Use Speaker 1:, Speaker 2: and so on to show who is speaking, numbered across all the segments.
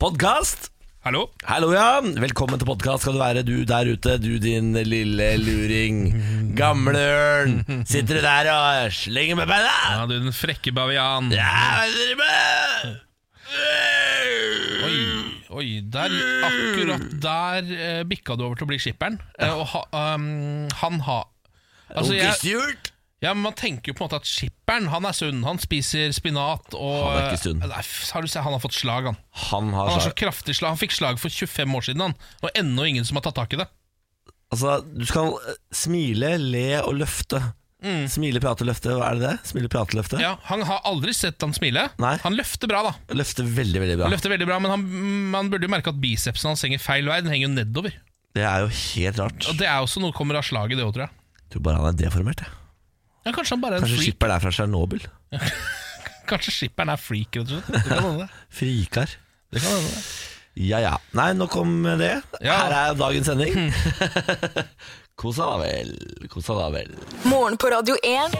Speaker 1: Podkast!
Speaker 2: Hallo?
Speaker 1: Hallo, ja. Velkommen til podkast skal du være, du der ute. Du, din lille luring. Gamle ørn. Sitter du der og slenger med beina?
Speaker 2: Ja, du, den frekke bavian.
Speaker 1: Ja, hva driver du med?
Speaker 2: Oi, oi, der, akkurat der eh, bikka du over til å bli skipperen. Eh, og ha, um, han ha... Altså,
Speaker 1: Onkel
Speaker 2: jeg,
Speaker 1: Stjult?
Speaker 2: ja, men Man tenker jo på en måte at skipperen han er sunn. Han spiser spinat og
Speaker 1: Han er ikke sunn.
Speaker 2: eh, Nei, f- har du sett, han har fått slag, han.
Speaker 1: Han har
Speaker 2: Han, har så
Speaker 1: slag.
Speaker 2: kraftig slag. han fikk slag for 25 år siden, han. Og ennå ingen som har tatt tak i det.
Speaker 1: Altså, du skal eh, smile, le og løfte. Smile, prate, løfte. Hva er det det? Smile, prate, løfte?
Speaker 2: Mm. Ja, Han har aldri sett han smile.
Speaker 1: Nei.
Speaker 2: Han løfter bra, da.
Speaker 1: Løfte veldig, veldig bra.
Speaker 2: Løfter veldig bra, Men han, man burde jo merke at bicepsen hans henger feil vei. Den henger jo nedover.
Speaker 1: Det er jo helt rart.
Speaker 2: Og Det er også noe kommer av slaget, det òg, tror jeg.
Speaker 1: Jeg tror bare han er deformert. Jeg.
Speaker 2: Ja, kanskje han bare er en
Speaker 1: Kanskje
Speaker 2: freak.
Speaker 1: skipper der fra Tsjernobyl.
Speaker 2: Kanskje skipperen er freak, rett og slett. Det kan hende det.
Speaker 1: Frikar.
Speaker 2: det, kan hende det.
Speaker 1: Ja ja. Nei, nok om det.
Speaker 2: Ja. Hmm.
Speaker 1: Her er dagens sending. Kosa da vel. Kosa da vel.
Speaker 3: Morgen på Radio 1.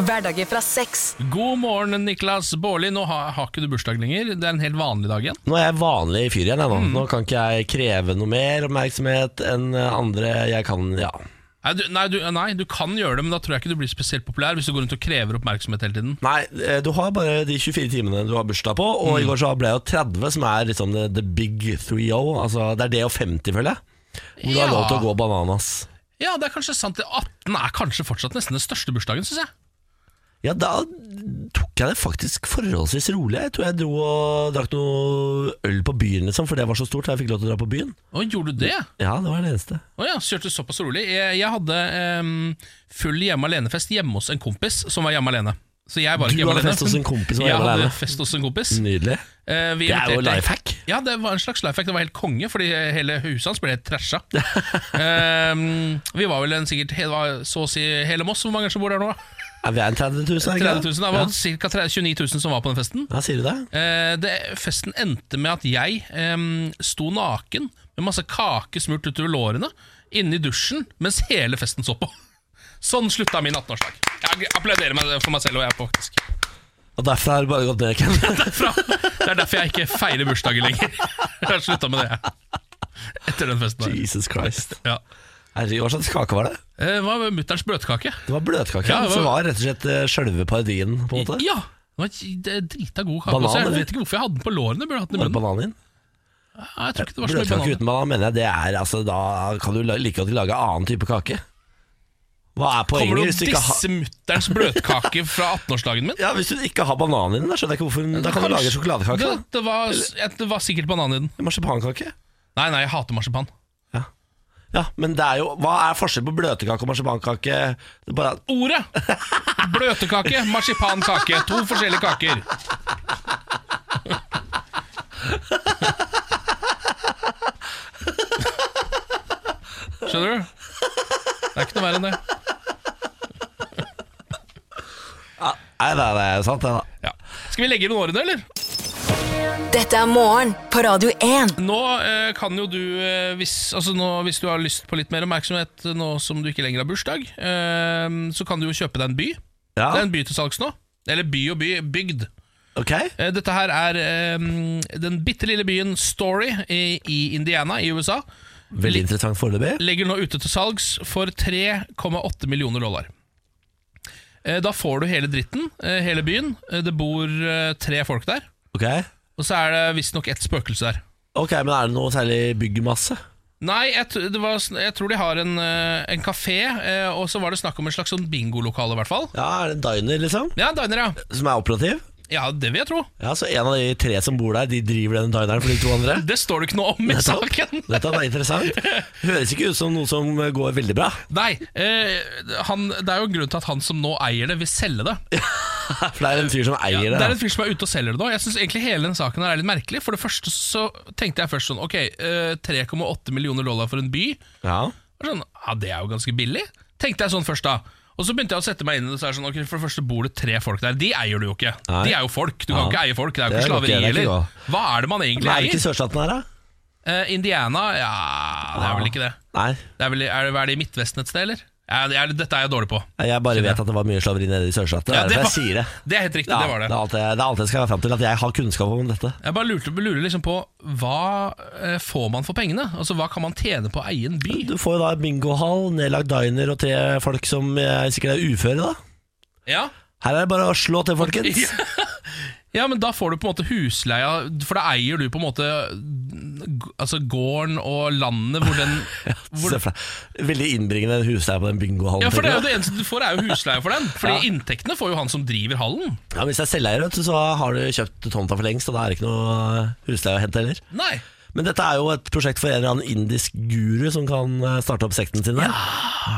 Speaker 3: Hverdager fra seks.
Speaker 2: God morgen, Niklas Baarli. Nå har, har ikke du bursdag lenger. Det er en helt vanlig dag igjen.
Speaker 1: Nå er jeg vanlig fyr igjen. Jeg, nå.
Speaker 2: Hmm.
Speaker 1: nå kan ikke jeg kreve noe mer oppmerksomhet enn andre jeg kan. Ja.
Speaker 2: Nei du, nei, du, nei, du kan gjøre det, men da tror jeg ikke du blir spesielt populær hvis du går rundt og krever oppmerksomhet hele tiden.
Speaker 1: Nei, eh, du har bare de 24 timene du har bursdag på, og
Speaker 2: Hmm.
Speaker 1: i går så ble jeg jo 30, som er liksom the, the big 3-0. Altså, det er det og 50, føler jeg. Hvor du har
Speaker 2: Ja.
Speaker 1: lov til å gå bananas.
Speaker 2: Ja, det er kanskje sant. Det 18 er kanskje fortsatt nesten den største bursdagen, syns jeg.
Speaker 1: Ja, da tok jeg det faktisk forholdsvis rolig. Jeg tror jeg dro og drakk noe øl på byen, liksom, for det var så stort. så Jeg fikk lov til å dra på byen.
Speaker 2: Å, gjorde du det?
Speaker 1: Ja, det var det eneste.
Speaker 2: Å ja, så kjørte du såpass rolig. Jeg, jeg hadde em, full hjemme alene-fest hjemme hos en kompis som var hjemme alene. Så jeg var
Speaker 1: Du
Speaker 2: ikke hjemme
Speaker 1: hadde
Speaker 2: alene.
Speaker 1: fest hos en kompis som var hjemme
Speaker 2: jeg
Speaker 1: alene.
Speaker 2: hadde fest hos en kompis.
Speaker 1: Nydelig.
Speaker 2: Eh, vi
Speaker 1: Det er jo
Speaker 2: inviterte-
Speaker 1: life hack.
Speaker 2: Ja, det var en slags life hack. Det var helt konge, fordi hele huset hans ble helt trasha. Ehm, vi var vel en sikkert det var så å si hele Moss. Hvor mange som bor der nå?
Speaker 1: Er vi er en 30 000, er
Speaker 2: 30
Speaker 1: det
Speaker 2: 000. Det
Speaker 1: ikke
Speaker 2: var ca. 29 000 som var på den festen.
Speaker 1: Ja, sier du det?
Speaker 2: Eh, det, festen endte med at jeg ehm, sto naken med masse kake smurt utover lårene inne i dusjen mens hele festen så på. Sånn slutta min 18-årsdag. Jeg applauderer meg for meg selv og jeg, faktisk.
Speaker 1: Og derfor har det bare gått ned, Ken.
Speaker 2: Fra, det er derfor jeg ikke feirer bursdager lenger. Jeg har slutta med det. jeg. Etter den festen. der.
Speaker 1: Jesus Christ.
Speaker 2: Ja.
Speaker 1: Herregud, hva slags kake var det?
Speaker 2: Eh, Hva var mutterns bløtkake?
Speaker 1: Det var bløtkake,
Speaker 2: Ja, det var-
Speaker 1: som var rett og slett eh, sjølve parodien, på en måte.
Speaker 2: Ja! Det var et- det er drita god kake.
Speaker 1: Banan,
Speaker 2: også. jeg
Speaker 1: eller?
Speaker 2: vet ikke hvorfor jeg hadde den på lårene. Burde hatt den i
Speaker 1: Var det
Speaker 2: munnen.
Speaker 1: banan i den?
Speaker 2: Nei, jeg tror ikke det var så mye
Speaker 1: Bløtkake
Speaker 2: banan.
Speaker 1: uten banan, mener jeg. Det er, altså, da kan du la- like godt lage annen type kake. Hva er
Speaker 2: Kommer du
Speaker 1: poenget
Speaker 2: og
Speaker 1: hvis du ikke har
Speaker 2: disser mutterns bløtkake fra 18-årsdagen min?
Speaker 1: ja, Hvis du ikke har banan i den, da skjønner jeg ikke hvorfor Da kan du lage sjokoladekake.
Speaker 2: Det,
Speaker 1: da.
Speaker 2: det, var, jeg- det var sikkert banan i den.
Speaker 1: Marsipankake.
Speaker 2: Nei, nei, jeg hater marsipan.
Speaker 1: Ja, men det er jo Hva er forskjellen på bløtkake og marsipankake? Det er bare at
Speaker 2: Ordet! Bløtkake, marsipankake. To forskjellige kaker. Skjønner du? Det er ikke noe verre enn det.
Speaker 1: Nei, det er, det er sant, det, da.
Speaker 2: Ja. Skal vi legge inn årene, eller?
Speaker 3: Dette er morgen på Radio 1.
Speaker 2: Nå eh, kan jo du, eh, hvis, altså nå, hvis du har lyst på litt mer oppmerksomhet eh, nå som du ikke lenger har bursdag, eh, så kan du jo kjøpe deg en by.
Speaker 1: Ja,
Speaker 2: Det er en by til salgs nå. Eller by og by, bygd.
Speaker 1: ok
Speaker 2: Eh, Dette her er eh, den bitte lille byen Story i, i Indiana i USA.
Speaker 1: Veldig interessant foreløpig.
Speaker 2: Legger nå ute til salgs for 3,8 millioner dollar. Eh, Da får du hele dritten, eh, hele byen. Eh, Det bor eh, tre folk der.
Speaker 1: Ok,
Speaker 2: Og så er det visstnok ett spøkelse der.
Speaker 1: Ok, Men er det noe særlig byggmasse?
Speaker 2: Nei, jeg, tr- det var, sn- jeg tror de har en, eh, en kafé, eh, og så var det snakk om en slags sånn bingolokale, i hvert fall.
Speaker 1: Ja, Er det en diner, liksom?
Speaker 2: Ja, diner, ja.
Speaker 1: Som er operativ?
Speaker 2: Ja, det vil jeg tro.
Speaker 1: Ja, Så en av de tre som bor der, de driver den dineren for de to andre?
Speaker 2: Det står det ikke noe om i saken.
Speaker 1: Dette er interessant. Høres ikke ut som noe som går veldig bra.
Speaker 2: Nei, eh, han, det er jo en grunn til at han som nå eier det, vil selge det.
Speaker 1: For det er en fyr som eier
Speaker 2: Det
Speaker 1: det.
Speaker 2: er
Speaker 1: da.
Speaker 2: en fyr som er ute og selger det nå. Jeg synes egentlig hele den saken her er litt merkelig. For det første så tenkte jeg først sånn Ok, eh, 3,8 millioner dollar for en by.
Speaker 1: Ja.
Speaker 2: Og Sånn, ja, Det er jo ganske billig, tenkte jeg sånn først da. Og så begynte jeg å sette meg inn i det. Så er det sånn, ok, For det første bor det tre folk der. De eier du jo ikke.
Speaker 1: Nei.
Speaker 2: De er jo folk. Du kan
Speaker 1: Ja.
Speaker 2: ikke eie folk. Det er jo
Speaker 1: Det
Speaker 2: ikke
Speaker 1: er godt,
Speaker 2: slaveri
Speaker 1: det er ikke
Speaker 2: heller.
Speaker 1: godt.
Speaker 2: Hva er det man egentlig
Speaker 1: Men er det ikke
Speaker 2: eier?
Speaker 1: i sørstaten her, da?
Speaker 2: Eh, Indiana? Ja, det er vel ikke det.
Speaker 1: Nei.
Speaker 2: det er vel, er det, er det i Midtvesten et sted, eller? Jeg, jeg, dette er jeg dårlig på.
Speaker 1: Nei, Jeg bare vet at det var mye slaveri nede i Sørslakta.
Speaker 2: Ja,
Speaker 1: det er
Speaker 2: var-
Speaker 1: derfor jeg sier det.
Speaker 2: det er helt riktig,
Speaker 1: Ja,
Speaker 2: det var det.
Speaker 1: er alt jeg, det er alt jeg skal være frem til, at jeg har kunnskap om dette.
Speaker 2: Jeg bare lurte, lurer liksom på hva eh, får man for pengene? Altså Hva kan man tjene på å eie en by?
Speaker 1: Du får jo da bingohall, nedlagt diner og tre folk som eh, sikkert er uføre, da.
Speaker 2: Ja,
Speaker 1: Her er det bare å slå til, folkens.
Speaker 2: ja men da får du på en måte husleia, for da eier du på en måte g- Altså gården og landet hvor den hvor,
Speaker 1: Se for deg. Veldig innbringende husleie på den bingohallen.
Speaker 2: Ja, for det er jo
Speaker 1: tenker jeg.
Speaker 2: det eneste du får, er jo husleia for den. Fordi inntektene får jo han som driver hallen.
Speaker 1: Ja, men hvis det er selveier, vet du, så har du kjøpt tomta for lengst, og da er det ikke noe eh, husleie å hente heller.
Speaker 2: Nei
Speaker 1: Men dette er jo et prosjekt for en eller annen indisk guru som kan eh, starte opp sekten sin der.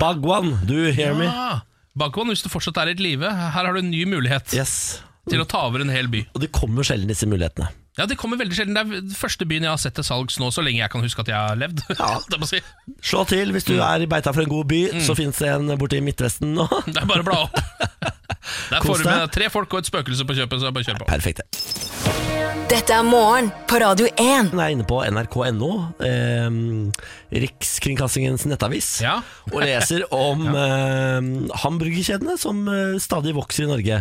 Speaker 1: Bhagwan, do you hear me?
Speaker 2: ah, Bakwan, hvis du fortsatt er i et live, her har du en ny mulighet
Speaker 1: Yes.
Speaker 2: til å ta over en hel by.
Speaker 1: Og det kommer sjelden disse mulighetene.
Speaker 2: Ja, Det kommer veldig sjelden. Det er den første byen jeg har sett til salgs nå, så lenge jeg kan huske at jeg har levd.
Speaker 1: Ja.
Speaker 2: Det, må jeg si.
Speaker 1: Slå til hvis
Speaker 2: Mm.
Speaker 1: du er i beita for en god by, så fins det en borte i Midtvesten nå.
Speaker 2: det er bare å bla opp. Der
Speaker 1: Kos
Speaker 2: får du med
Speaker 1: deg.
Speaker 2: tre folk og et spøkelse på kjøpet, så det er bare å kjøre på.
Speaker 1: Perfekt.
Speaker 3: Dette er morgen på Radio 1.
Speaker 1: Hun er inne på nrk.no, eh, Rikskringkastingens nettavis,
Speaker 2: Ja.
Speaker 1: og leser om eh, hamburgerkjedene som eh, stadig vokser i Norge.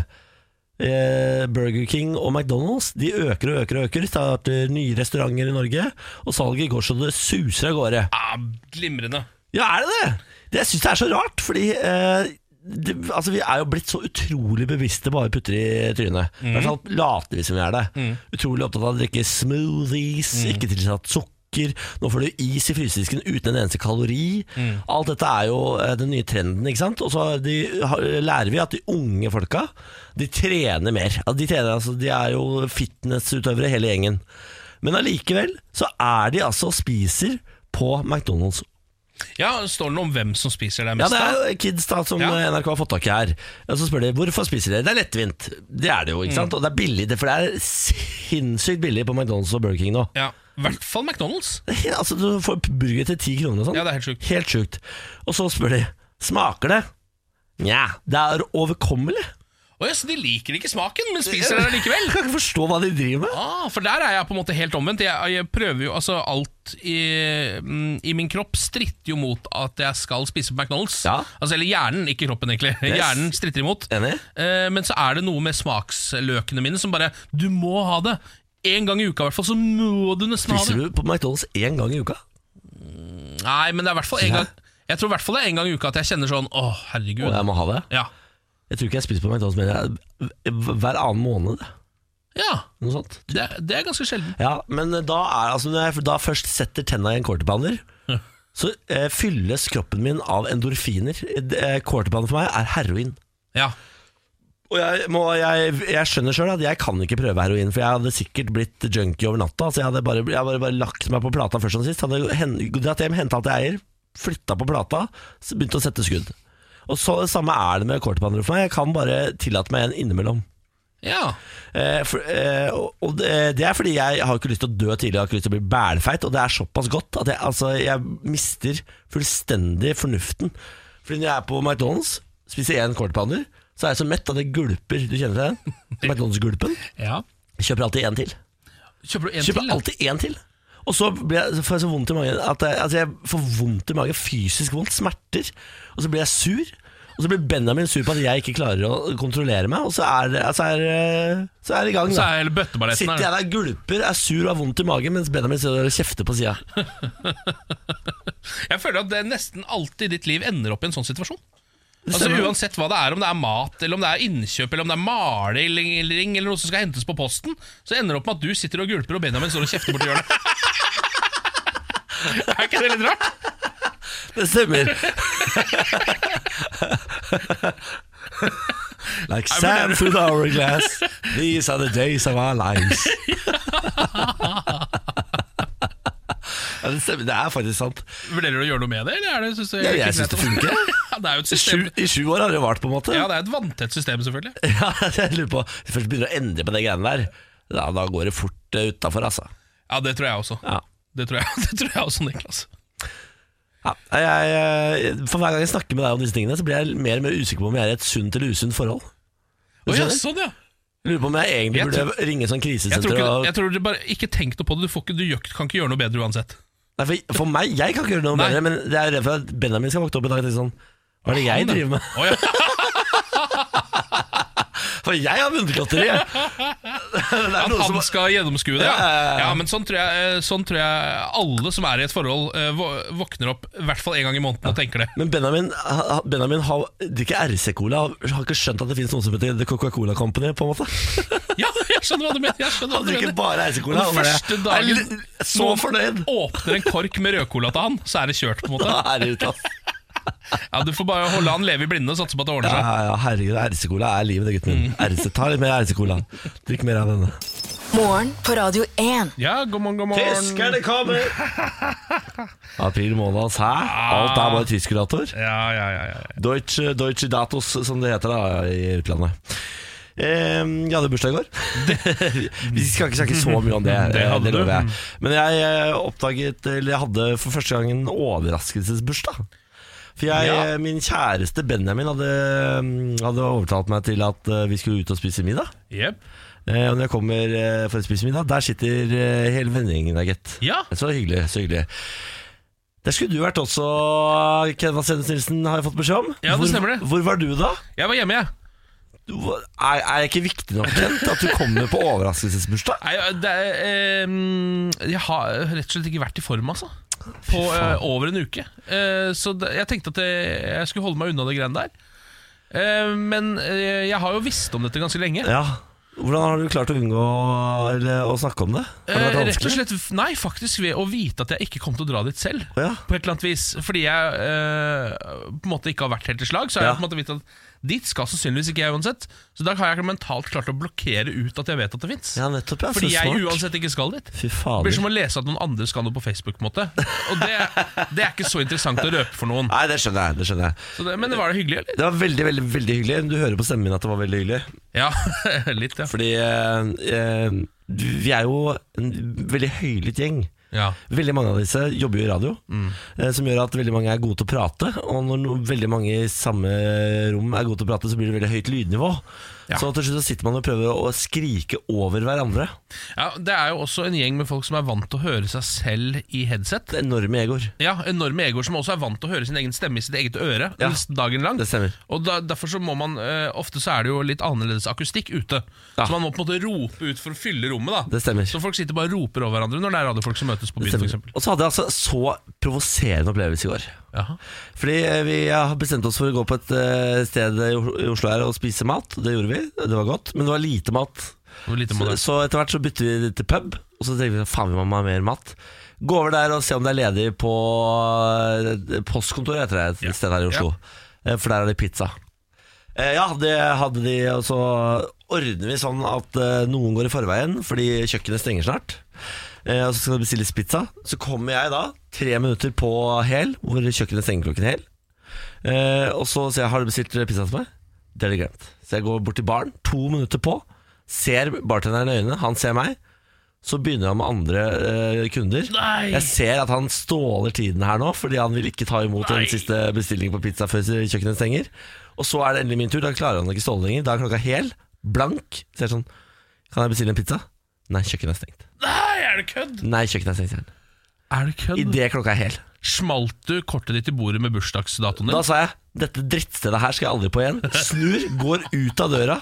Speaker 1: Eh, Burger King og McDonald's De øker og øker og øker. Starter nye restauranter i Norge, og salget går så det suser av gårde.
Speaker 2: Ah, glimrende.
Speaker 1: Ja, er det det? Det jeg syns det er så rart, fordi eh, det, altså, vi er jo blitt så utrolig bevisste bare putter i trynet. I hvert fall later vi som vi er det. Utrolig opptatt av å drikke smoothies, ikke tilsatt sukker. Nå får du is i frysedisken uten en eneste kalori. Alt dette er jo eh, den nye trenden. ikke sant? Og så har de, har, lærer vi at de unge folka de trener mer. Ja, De, trener, altså, de er jo fitnessutøvere hele gjengen. Men allikevel så er de altså og spiser på McDonald's
Speaker 2: Ja, Står det noe om hvem som spiser det
Speaker 1: ja,
Speaker 2: mest?
Speaker 1: det
Speaker 2: da?
Speaker 1: er jo kids da som
Speaker 2: Ja.
Speaker 1: eh, NRK har fått tak i her. Og så spør de hvorfor spiser dere. Det er lettvint. Det er det jo, ikke
Speaker 2: Mm.
Speaker 1: sant? Og det er billig, det- for det er sinnssykt billig på McDonald's og Burger King nå.
Speaker 2: Ja, I hvert fall McDonald's.
Speaker 1: Altså, du får burger til ti kroner og sånn.
Speaker 2: Ja, det er helt sjukt.
Speaker 1: Helt sjukt. Og så spør de smaker det. Nja, det er overkommelig.
Speaker 2: Å ja, så de liker ikke smaken, men spiser det likevel?
Speaker 1: Jeg kan ikke forstå hva de driver med.
Speaker 2: Ah, for der er jeg på en måte helt omvendt. Jeg, jeg prøver jo altså alt i, mm, i min kropp stritter jo mot at jeg skal spise på McDonald's.
Speaker 1: Ja.
Speaker 2: Altså, eller hjernen, ikke kroppen egentlig. Hjernen stritter imot.
Speaker 1: Enig.
Speaker 2: Eh, men så er det noe med smaksløkene mine som bare Du må ha det! En gang i uka i hvert fall, så må du nesten ha det.
Speaker 1: Spiser du på McDonald's én gang i uka?
Speaker 2: Nei, men det er i hvert fall en
Speaker 1: Ja.
Speaker 2: gang Jeg tror i hvert fall det er en gang i uka at jeg kjenner sånn Å, herregud.
Speaker 1: Og jeg må ha det.
Speaker 2: Ja.
Speaker 1: Jeg tror ikke jeg spiser på McDonald's mer enn hver annen måned.
Speaker 2: ja
Speaker 1: Noe sånt.
Speaker 2: det, det er ganske sjelden.
Speaker 1: Ja, men da er altså Når jeg da først setter tenna i en quarterbander Så eh, fylles kroppen min av endorfiner eh, Quarterbander for meg er heroin
Speaker 2: Ja.
Speaker 1: Og jeg, må, jeg, jeg skjønner selv at jeg kan ikke prøve heroin For jeg hadde sikkert blitt junkie over natta Så jeg hadde bare, jeg hadde bare, bare lagt meg på plata først og sist Hadde hen- dratt hjem, hentet alt jeg eier Flyttet på plata Så begynte å sette skudd Og så det samme er det med quarterbander for meg Jeg kan bare tillate meg en innimellom
Speaker 2: ja.
Speaker 1: Eh, for, eh, og- og det, det er fordi jeg har ikke lyst til å dø tidlig, jeg har ikke lyst til å bli bælfeit, og det er såpass godt at jeg, altså, jeg mister fullstendig fornuften. Fordi når jeg er på McDonald's, spiser én quarterpounder, så er jeg så mett at jeg gulper. Du kjenner det? McDonald's-gulpen.
Speaker 2: ja.
Speaker 1: Jeg Kjøper alltid én til.
Speaker 2: Kjøper du en
Speaker 1: Kjøper
Speaker 2: til? da?
Speaker 1: alltid én til. Og så blir jeg, så får jeg så vondt i magen at jeg, altså jeg får vondt i magen, fysisk vondt, smerter. Og så blir jeg sur. Og så blir Benjamin sur på at jeg ikke klarer å kontrollere meg, og så er det altså er, så er det i gang.
Speaker 2: Så
Speaker 1: Da.
Speaker 2: er hele bøtteballetten
Speaker 1: Sitter
Speaker 2: her.
Speaker 1: jeg der, gulper, er sur og har vondt i magen, mens Benjamin sitter og kjefter på sida.
Speaker 2: Jeg føler at det nesten alltid i ditt liv ender opp i en sånn situasjon. Altså
Speaker 1: stemmer.
Speaker 2: Uansett hva det er, om det er mat, eller om det er innkjøp, eller om det er maling eller noe som skal hentes på posten, så ender det opp med at du sitter og gulper, og Benjamin står og kjefter borti hjørnet. er ikke det litt rart?
Speaker 1: Det stemmer. like sand through the hourglass, these are the days of our lives. ja, det stemmer. Det er faktisk sant.
Speaker 2: Vurderer du å gjøre noe med det, eller er det, synes du,
Speaker 1: Ja, jeg syns det funker.
Speaker 2: Ja, det er jo et
Speaker 1: Sju,
Speaker 2: system.
Speaker 1: I sju år har det vart, på en måte.
Speaker 2: Ja, det er et vanntett system, selvfølgelig.
Speaker 1: Ja, jeg lurer på Hvis jeg først begynner å endre på de greiene der, da, da går det fort uh, utafor, altså.
Speaker 2: Ja, det tror jeg også.
Speaker 1: Ja.
Speaker 2: Det tror jeg, det tror jeg også, Niklas.
Speaker 1: Ja, jeg, jeg, for hver gang jeg snakker med deg om disse tingene, Så blir jeg mer og mer usikker på om jeg er i et sunt eller usunt forhold.
Speaker 2: Å ja,
Speaker 1: skjønner?
Speaker 2: sånn, ja.
Speaker 1: Lurer på om jeg egentlig
Speaker 2: Jeg
Speaker 1: burde ringe sånn
Speaker 2: Jeg tror
Speaker 1: krisesenter
Speaker 2: ikke,
Speaker 1: og
Speaker 2: jeg tror du bare, ikke tenk noe på det. Du, får ikke, du gjør- kan ikke gjøre noe bedre uansett.
Speaker 1: Nei, for, for meg, Jeg kan ikke gjøre noe
Speaker 2: Nei.
Speaker 1: bedre, men jeg er redd for at Benjamin skal våkne opp i dag og tenke sånn Hva er det jeg
Speaker 2: Han,
Speaker 1: driver med?
Speaker 2: Å, ja.
Speaker 1: For jeg har vunnet jeg Det er
Speaker 2: At
Speaker 1: noe
Speaker 2: han
Speaker 1: som
Speaker 2: skal gjennomskue det?
Speaker 1: Ja, ja,
Speaker 2: Ja,
Speaker 1: ja.
Speaker 2: ja men sånn tror, jeg, sånn tror jeg alle som er i et forhold, eh, vå- våkner opp i hvert fall en gang i måneden og tenker det.
Speaker 1: Men Benjamin, ha- ha- Benjamin har, drikker RC-cola. Har ikke skjønt at det finnes noe som heter The Coca-Cola Company. på en måte
Speaker 2: Ja, jeg skjønner hva du mener! Jeg skjønner hva
Speaker 1: Han
Speaker 2: du
Speaker 1: drikker
Speaker 2: mener.
Speaker 1: bare RC-cola.
Speaker 2: Og
Speaker 1: han
Speaker 2: den
Speaker 1: er-
Speaker 2: første
Speaker 1: er
Speaker 2: dagen
Speaker 1: litt- Så
Speaker 2: noen
Speaker 1: fornøyd!
Speaker 2: Åpner en kork med rødcola til han, så er det kjørt. på en måte
Speaker 1: Da er det ute, ass.
Speaker 2: Ja, Du får bare holde han leve i blinde og satse på at det ordner
Speaker 1: Ja,
Speaker 2: seg.
Speaker 1: ja, herregud, RC-cola er livet, det, gutten min.
Speaker 2: Mm.
Speaker 1: RC, ta litt mer RC-cola. Drikk mer av denne.
Speaker 3: Morgen på Radio 1.
Speaker 2: Ja, god morgen, god morgen.
Speaker 1: Tyskerne kommer! April måned, ass. Hæ?
Speaker 2: Ah.
Speaker 1: Alt er bare tyskurator.
Speaker 2: Ja, ja, ja, ja.
Speaker 1: Deutsche, Deutsche Datos, som det heter da i utlandet. Eh, Jeg hadde bursdag i går. Vi skal ikke snakke så mye om det.
Speaker 2: Det hadde
Speaker 1: eh,
Speaker 2: du.
Speaker 1: lover jeg. Men jeg eh, oppdaget Eller jeg hadde for første gang en overraskelsesbursdag. For jeg,
Speaker 2: Ja.
Speaker 1: eh, Min kjæreste Benjamin hadde, mm, hadde overtalt meg til at eh, vi skulle ut og spise middag.
Speaker 2: Jep.
Speaker 1: Eh, Og når jeg kommer eh, for å spise middag, der sitter eh, hele vennegjengen der, gitt.
Speaker 2: Ja.
Speaker 1: Så hyggelig. så hyggelig Der skulle du vært også, Kenvas Sennes Nilsen, har jeg fått beskjed om.
Speaker 2: Ja, det
Speaker 1: hvor,
Speaker 2: stemmer det.
Speaker 1: Hvor var du da?
Speaker 2: Jeg var hjemme, jeg.
Speaker 1: Du, var- er, er jeg ikke viktig nok, Kent, at du kommer på overraskelsesbursdag?
Speaker 2: Nei, det er, eh, jeg har rett og slett ikke vært i form, altså. På eh, over en uke. Eh, så det, jeg tenkte at jeg, jeg skulle holde meg unna det greiene der. Eh, men eh, jeg har jo visst om dette ganske lenge.
Speaker 1: Ja. Hvordan har du klart å unngå eller, å snakke om det? Har det
Speaker 2: Eh,
Speaker 1: vært
Speaker 2: rett og
Speaker 1: vanskelig?
Speaker 2: slett, Nei, faktisk ved å vite at jeg ikke kom til å dra dit selv.
Speaker 1: Å, ja.
Speaker 2: På et eller annet vis Fordi jeg eh, på en måte ikke har vært helt i slag. Så har
Speaker 1: Ja.
Speaker 2: jeg på en måte vite at dit skal sannsynligvis ikke jeg uansett. Så da har jeg mentalt klart å blokkere ut at jeg vet at det fins.
Speaker 1: Ja, nettopp. Ja. Så
Speaker 2: fordi jeg
Speaker 1: smart.
Speaker 2: uansett ikke skal dit.
Speaker 1: Fy
Speaker 2: Det blir
Speaker 1: fader.
Speaker 2: som å lese at noen andre skal noe på Facebook. på en måte Og det, det er ikke så interessant å røpe for noen.
Speaker 1: Nei, det skjønner jeg. det skjønner jeg
Speaker 2: Så det, men var det hyggelig, eller?
Speaker 1: Det var veldig veldig, veldig hyggelig. Du hører på stemmen min at det var veldig hyggelig.
Speaker 2: Ja, litt, ja.
Speaker 1: Fordi eh, eh, vi er jo en veldig høylytt gjeng.
Speaker 2: ja.
Speaker 1: Veldig mange av disse jobber jo i radio,
Speaker 2: Mm.
Speaker 1: eh, som gjør at veldig mange er gode til å prate. Og når no, veldig mange i samme rom er gode til å prate, så blir det veldig høyt lydnivå.
Speaker 2: Ja.
Speaker 1: Så til slutt så sitter man og prøver å skrike over hverandre.
Speaker 2: ja Det er jo også en gjeng med folk som er vant til å høre seg selv i headset.
Speaker 1: Det er enorme egoer.
Speaker 2: Ja, Enorme egoer som også er vant til å høre sin egen stemme i sitt eget øre.
Speaker 1: Ja,
Speaker 2: dagen lang
Speaker 1: Det stemmer.
Speaker 2: Og da, Derfor så må man eh, ofte så er det jo litt annerledes akustikk ute.
Speaker 1: Ja.
Speaker 2: Så man må på en måte rope ut for å fylle rommet. da
Speaker 1: Det stemmer.
Speaker 2: Så folk sitter bare og roper over hverandre når det er radiofolk som møtes på
Speaker 1: Det
Speaker 2: byen. For
Speaker 1: stemmer.
Speaker 2: eksempel.
Speaker 1: Og så hadde jeg altså så provoserende opplevelse i går.
Speaker 2: Jaha.
Speaker 1: Fordi eh, vi har bestemt oss for å gå på et eh, sted i O- i Oslo her og spise mat. Det gjorde vi, det var godt. Men det var lite mat.
Speaker 2: Hvor lite må
Speaker 1: Så,
Speaker 2: det
Speaker 1: så etter hvert så bytter vi det til pub, og så tenker vi faen vi må ha mer mat. Gå over der og se om det er ledig på eh, postkontoret heter det et
Speaker 2: Ja.
Speaker 1: sted her i Oslo. Eh, For der er det pizza. Eh, Ja, det hadde de, og så ordner vi sånn at eh, noen går i forveien fordi kjøkkenet stenger snart. Eh, Og så skal det bestilles pizza. Så kommer jeg da, tre minutter på hel, hvor kjøkkenet stenger klokken hel. Eh, og så sier jeg, har du bestilt pizza til meg? Det er det glemt. Så jeg går bort til baren, to minutter på, ser bartenderen i øynene, han ser meg. Så begynner han med andre eh, kunder.
Speaker 2: Nei.
Speaker 1: Jeg ser at han ståler tiden her nå, fordi han vil ikke ta imot den
Speaker 2: Nei.
Speaker 1: siste bestillingen på pizza før kjøkkenet stenger. Og så er det endelig min tur, da klarer han ikke ståle lenger. Da er klokka hel, blank. Så jeg er sånn, kan jeg bestille en pizza? Nei, kjøkkenet er stengt.
Speaker 2: Nei, er det kødd?!
Speaker 1: Nei, kjøkkenet er stengt. sier han.
Speaker 2: Er det kødd?
Speaker 1: I det klokka er hel.
Speaker 2: Smalt du kortet ditt i bordet med bursdagsdatoen din?
Speaker 1: Da sa jeg dette drittstedet her skal jeg aldri på igjen. Snur, går ut av døra,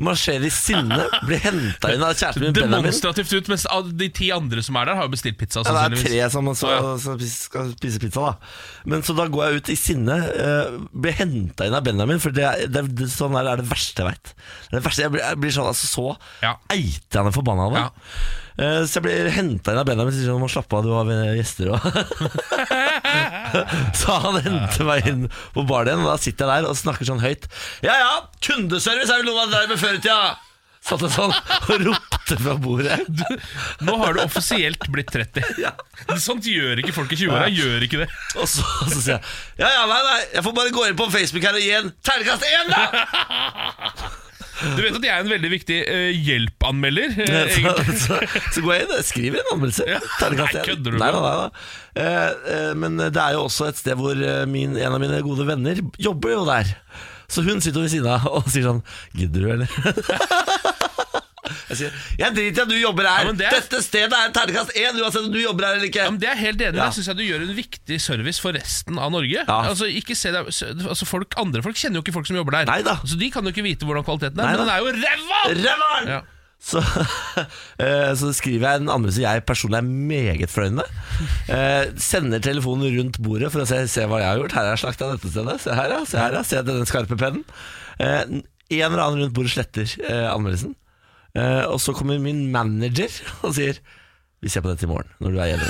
Speaker 1: marsjerer i sinne, blir henta inn av kjæresten min Benjamin.
Speaker 2: Demonstrativt ut, mens av de ti andre som er der, har jo bestilt pizza.
Speaker 1: Ja, det er
Speaker 2: sannsynligvis.
Speaker 1: tre som så,
Speaker 2: Ja.
Speaker 1: som skal spise pizza, da. Men så da går jeg ut i sinne, eh, blir henta inn av Benjamin, for det, er- det, er- det, sånn der er det verste jeg veit. Det er det verste, jeg blir, jeg blir sånn, altså, så
Speaker 2: Ja.
Speaker 1: eitende forbanna av det. Eh, så jeg blir henta inn av Benjamin og sier sånn, må slappe av, du har eh, gjester og Så han henter meg inn på baren igjen, og da sitter jeg der og snakker sånn høyt. Ja ja, kundeservice er vel noe man drev med før i tida! Satt jeg sånn og ropte fra bordet.
Speaker 2: Nå har du offisielt blitt 30. Sånt gjør ikke folk i 20-åra. Gjør ikke det.
Speaker 1: Og så, så sier jeg Ja, ja, nei, nei, jeg får bare gå inn på Facebook her og gi en terningkast én, da!
Speaker 2: Du vet at jeg er en veldig viktig eh, hjelpanmelder. eh,
Speaker 1: Så,
Speaker 2: egentlig.
Speaker 1: så, så går jeg inn og skriver en anmeldelse.
Speaker 2: Ja.
Speaker 1: Terningkast
Speaker 2: Nei,
Speaker 1: én.
Speaker 2: kødder du
Speaker 1: Nei,
Speaker 2: med?
Speaker 1: nei, nei, nei. Eh, eh, Men det er jo også et sted hvor eh, min, en av mine gode venner jobber jo der. Så hun sitter ved siden av og sier sånn Gidder du, eller? Jeg sier, jeg driter i at du jobber her.
Speaker 2: Ja, men det er-
Speaker 1: Dette stedet er terningkast én, uansett om du jobber her eller ikke.
Speaker 2: Ja, men det er jeg helt enig i.
Speaker 1: Ja.
Speaker 2: Jeg syns jeg du gjør en viktig service for resten av Norge.
Speaker 1: Ja.
Speaker 2: Altså, ikke se deg, se- altså folk, andre folk kjenner jo ikke folk som jobber der,
Speaker 1: Neida.
Speaker 2: så de kan jo ikke vite hvordan kvaliteten er.
Speaker 1: Neida.
Speaker 2: Men den er jo ræva!
Speaker 1: Rævaren!
Speaker 2: Ja.
Speaker 1: Så, eh, så skriver jeg en anmeldelse jeg personlig er meget fornøyd med. Eh, sender telefonen rundt bordet for å se, se hva jeg har gjort. Her har jeg slakta dette stedet. Se her, ja. Se, her, ja. se denne skarpe pennen. Eh, en eller annen rundt bordet sletter eh, anmeldelsen. Eh, og så kommer min manager og sier Vi ser på dette i morgen, når du er hjemme.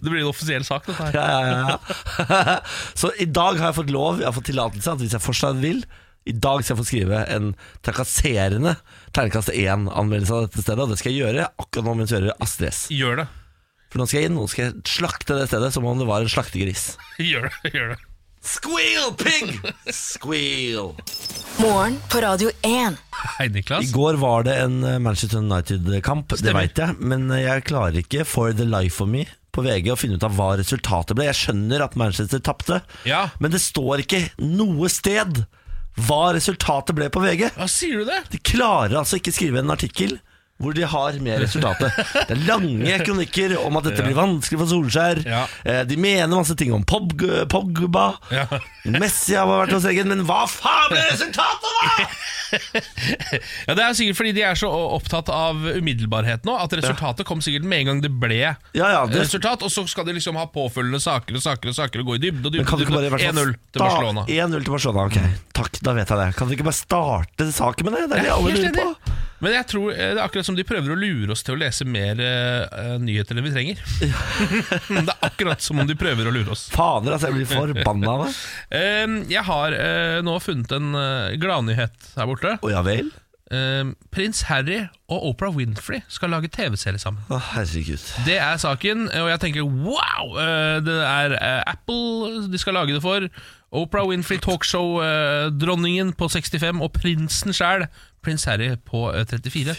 Speaker 2: Det blir en offisiell sak, dette her.
Speaker 1: Ja, ja, ja. Så i dag har jeg fått lov, jeg har fått tillatelse at hvis jeg fortsatt vil i dag skal jeg få skrive en trakasserende terningkast 1-anmeldelse av dette stedet. Og det skal jeg gjøre akkurat nå mens jeg hører Astrid S.
Speaker 2: Gjør det.
Speaker 1: For nå skal jeg inn og skal jeg slakte det stedet som om det var en slaktegris.
Speaker 2: Gjør det. Gjør det.
Speaker 1: Squeal, pig! Squeal.
Speaker 3: Morgen på Radio 1.
Speaker 2: Hei, Niklas.
Speaker 1: I går var det en eh, Manchester United-kamp, det
Speaker 2: Stemmer.
Speaker 1: veit jeg. Men eh, jeg klarer ikke for the life of me på VG å finne ut av hva resultatet ble. Jeg skjønner at Manchester tapte,
Speaker 2: Ja.
Speaker 1: men det står ikke noe sted hva resultatet ble på VG.
Speaker 2: Hva sier du det?
Speaker 1: De klarer altså ikke skrive en artikkel hvor de har med resultatet. Det er lange kronikker om at dette blir vanskelig for Solskjær.
Speaker 2: Ja.
Speaker 1: Eh, De mener masse ting om Pog Pogba.
Speaker 2: Ja.
Speaker 1: Messi har vært hos egen, men hva faen ble resultatet, da?!
Speaker 2: Ja, Det er sikkert fordi de er så opptatt av umiddelbarhet nå, at resultatet kom sikkert med en gang det ble
Speaker 1: Ja, ja, det-
Speaker 2: resultat. Og så skal de liksom ha påfølgende saker og saker og saker og gå i dybde og
Speaker 1: Men
Speaker 2: dybde.
Speaker 1: kan du ikke bare i
Speaker 2: dybde.
Speaker 1: hvert fall
Speaker 2: 1-0 til
Speaker 1: sta-
Speaker 2: Barcelona. Mm.
Speaker 1: 1-0 til Barcelona, ok. Takk, da vet jeg det. Kan du ikke bare starte saken med det? Det er det
Speaker 2: Jeg er
Speaker 1: alle
Speaker 2: helt
Speaker 1: lurer på.
Speaker 2: enig. Men jeg tror eh, det er akkurat som de prøver å lure oss til å lese mer eh, eh, nyheter enn vi trenger. det er akkurat som om de prøver å lure oss.
Speaker 1: Fader, altså, jeg blir forbanna av det.
Speaker 2: Eh, jeg har eh, nå funnet en eh, gladnyhet her borte.
Speaker 1: Å ja vel?
Speaker 2: Eh, Prins Harry og Oprah Winfrey skal lage TV-serie sammen.
Speaker 1: Å herregud.
Speaker 2: Det er saken, og jeg tenker wow! eh, Det er eh, Apple de skal lage det for. Oprah Winfrey, talkshow-dronningen på 65, og prinsen sjæl, prins Harry, på eh, 34.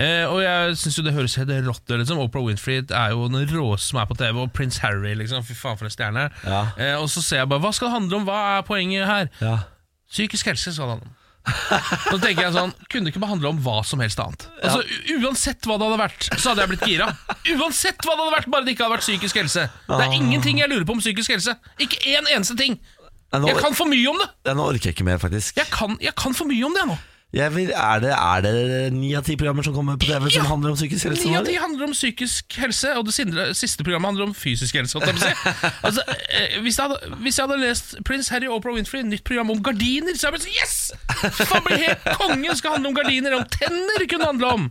Speaker 2: Eh, og jeg syns jo det høres helt rått ut. Liksom. Oprah Winfrey er jo den råeste som er på TV, og prins Harry, liksom. Fy faen, for en stjerne.
Speaker 1: Ja.
Speaker 2: Eh, og så ser jeg bare Hva skal det handle om? Hva er poenget her?
Speaker 1: Ja.
Speaker 2: Psykisk helse skal det handle om. Så tenker jeg sånn, Kunne det ikke bare handle om hva som helst annet? Altså, u- Uansett hva det hadde vært, så hadde jeg blitt gira. Uansett hva det hadde vært, Bare det ikke hadde vært psykisk helse. Det er ingenting jeg lurer på om psykisk helse. Ikke én eneste ting.
Speaker 1: Nei, nå,
Speaker 2: Jeg kan for mye om det!
Speaker 1: ja, nå orker jeg ikke mer, faktisk.
Speaker 2: Jeg kan, jeg kan for mye om det jeg nå.
Speaker 1: Jeg vil, er, det, er det ni av ti programmer som kommer på TV som
Speaker 2: Ja.
Speaker 1: handler om psykisk helse?
Speaker 2: Ni
Speaker 1: nå,
Speaker 2: av ti
Speaker 1: eller?
Speaker 2: handler om psykisk helse, og det sindre- siste programmet handler om fysisk helse. holdt jeg på å si. Altså, eh, hvis, jeg hadde, hvis jeg hadde lest Prince Harry og Oprah Winfrey, nytt program om gardiner, så hadde jeg blitt sånn, yes! Faen, blir helt Kongen skal handle om gardiner, om tenner kunne handle om!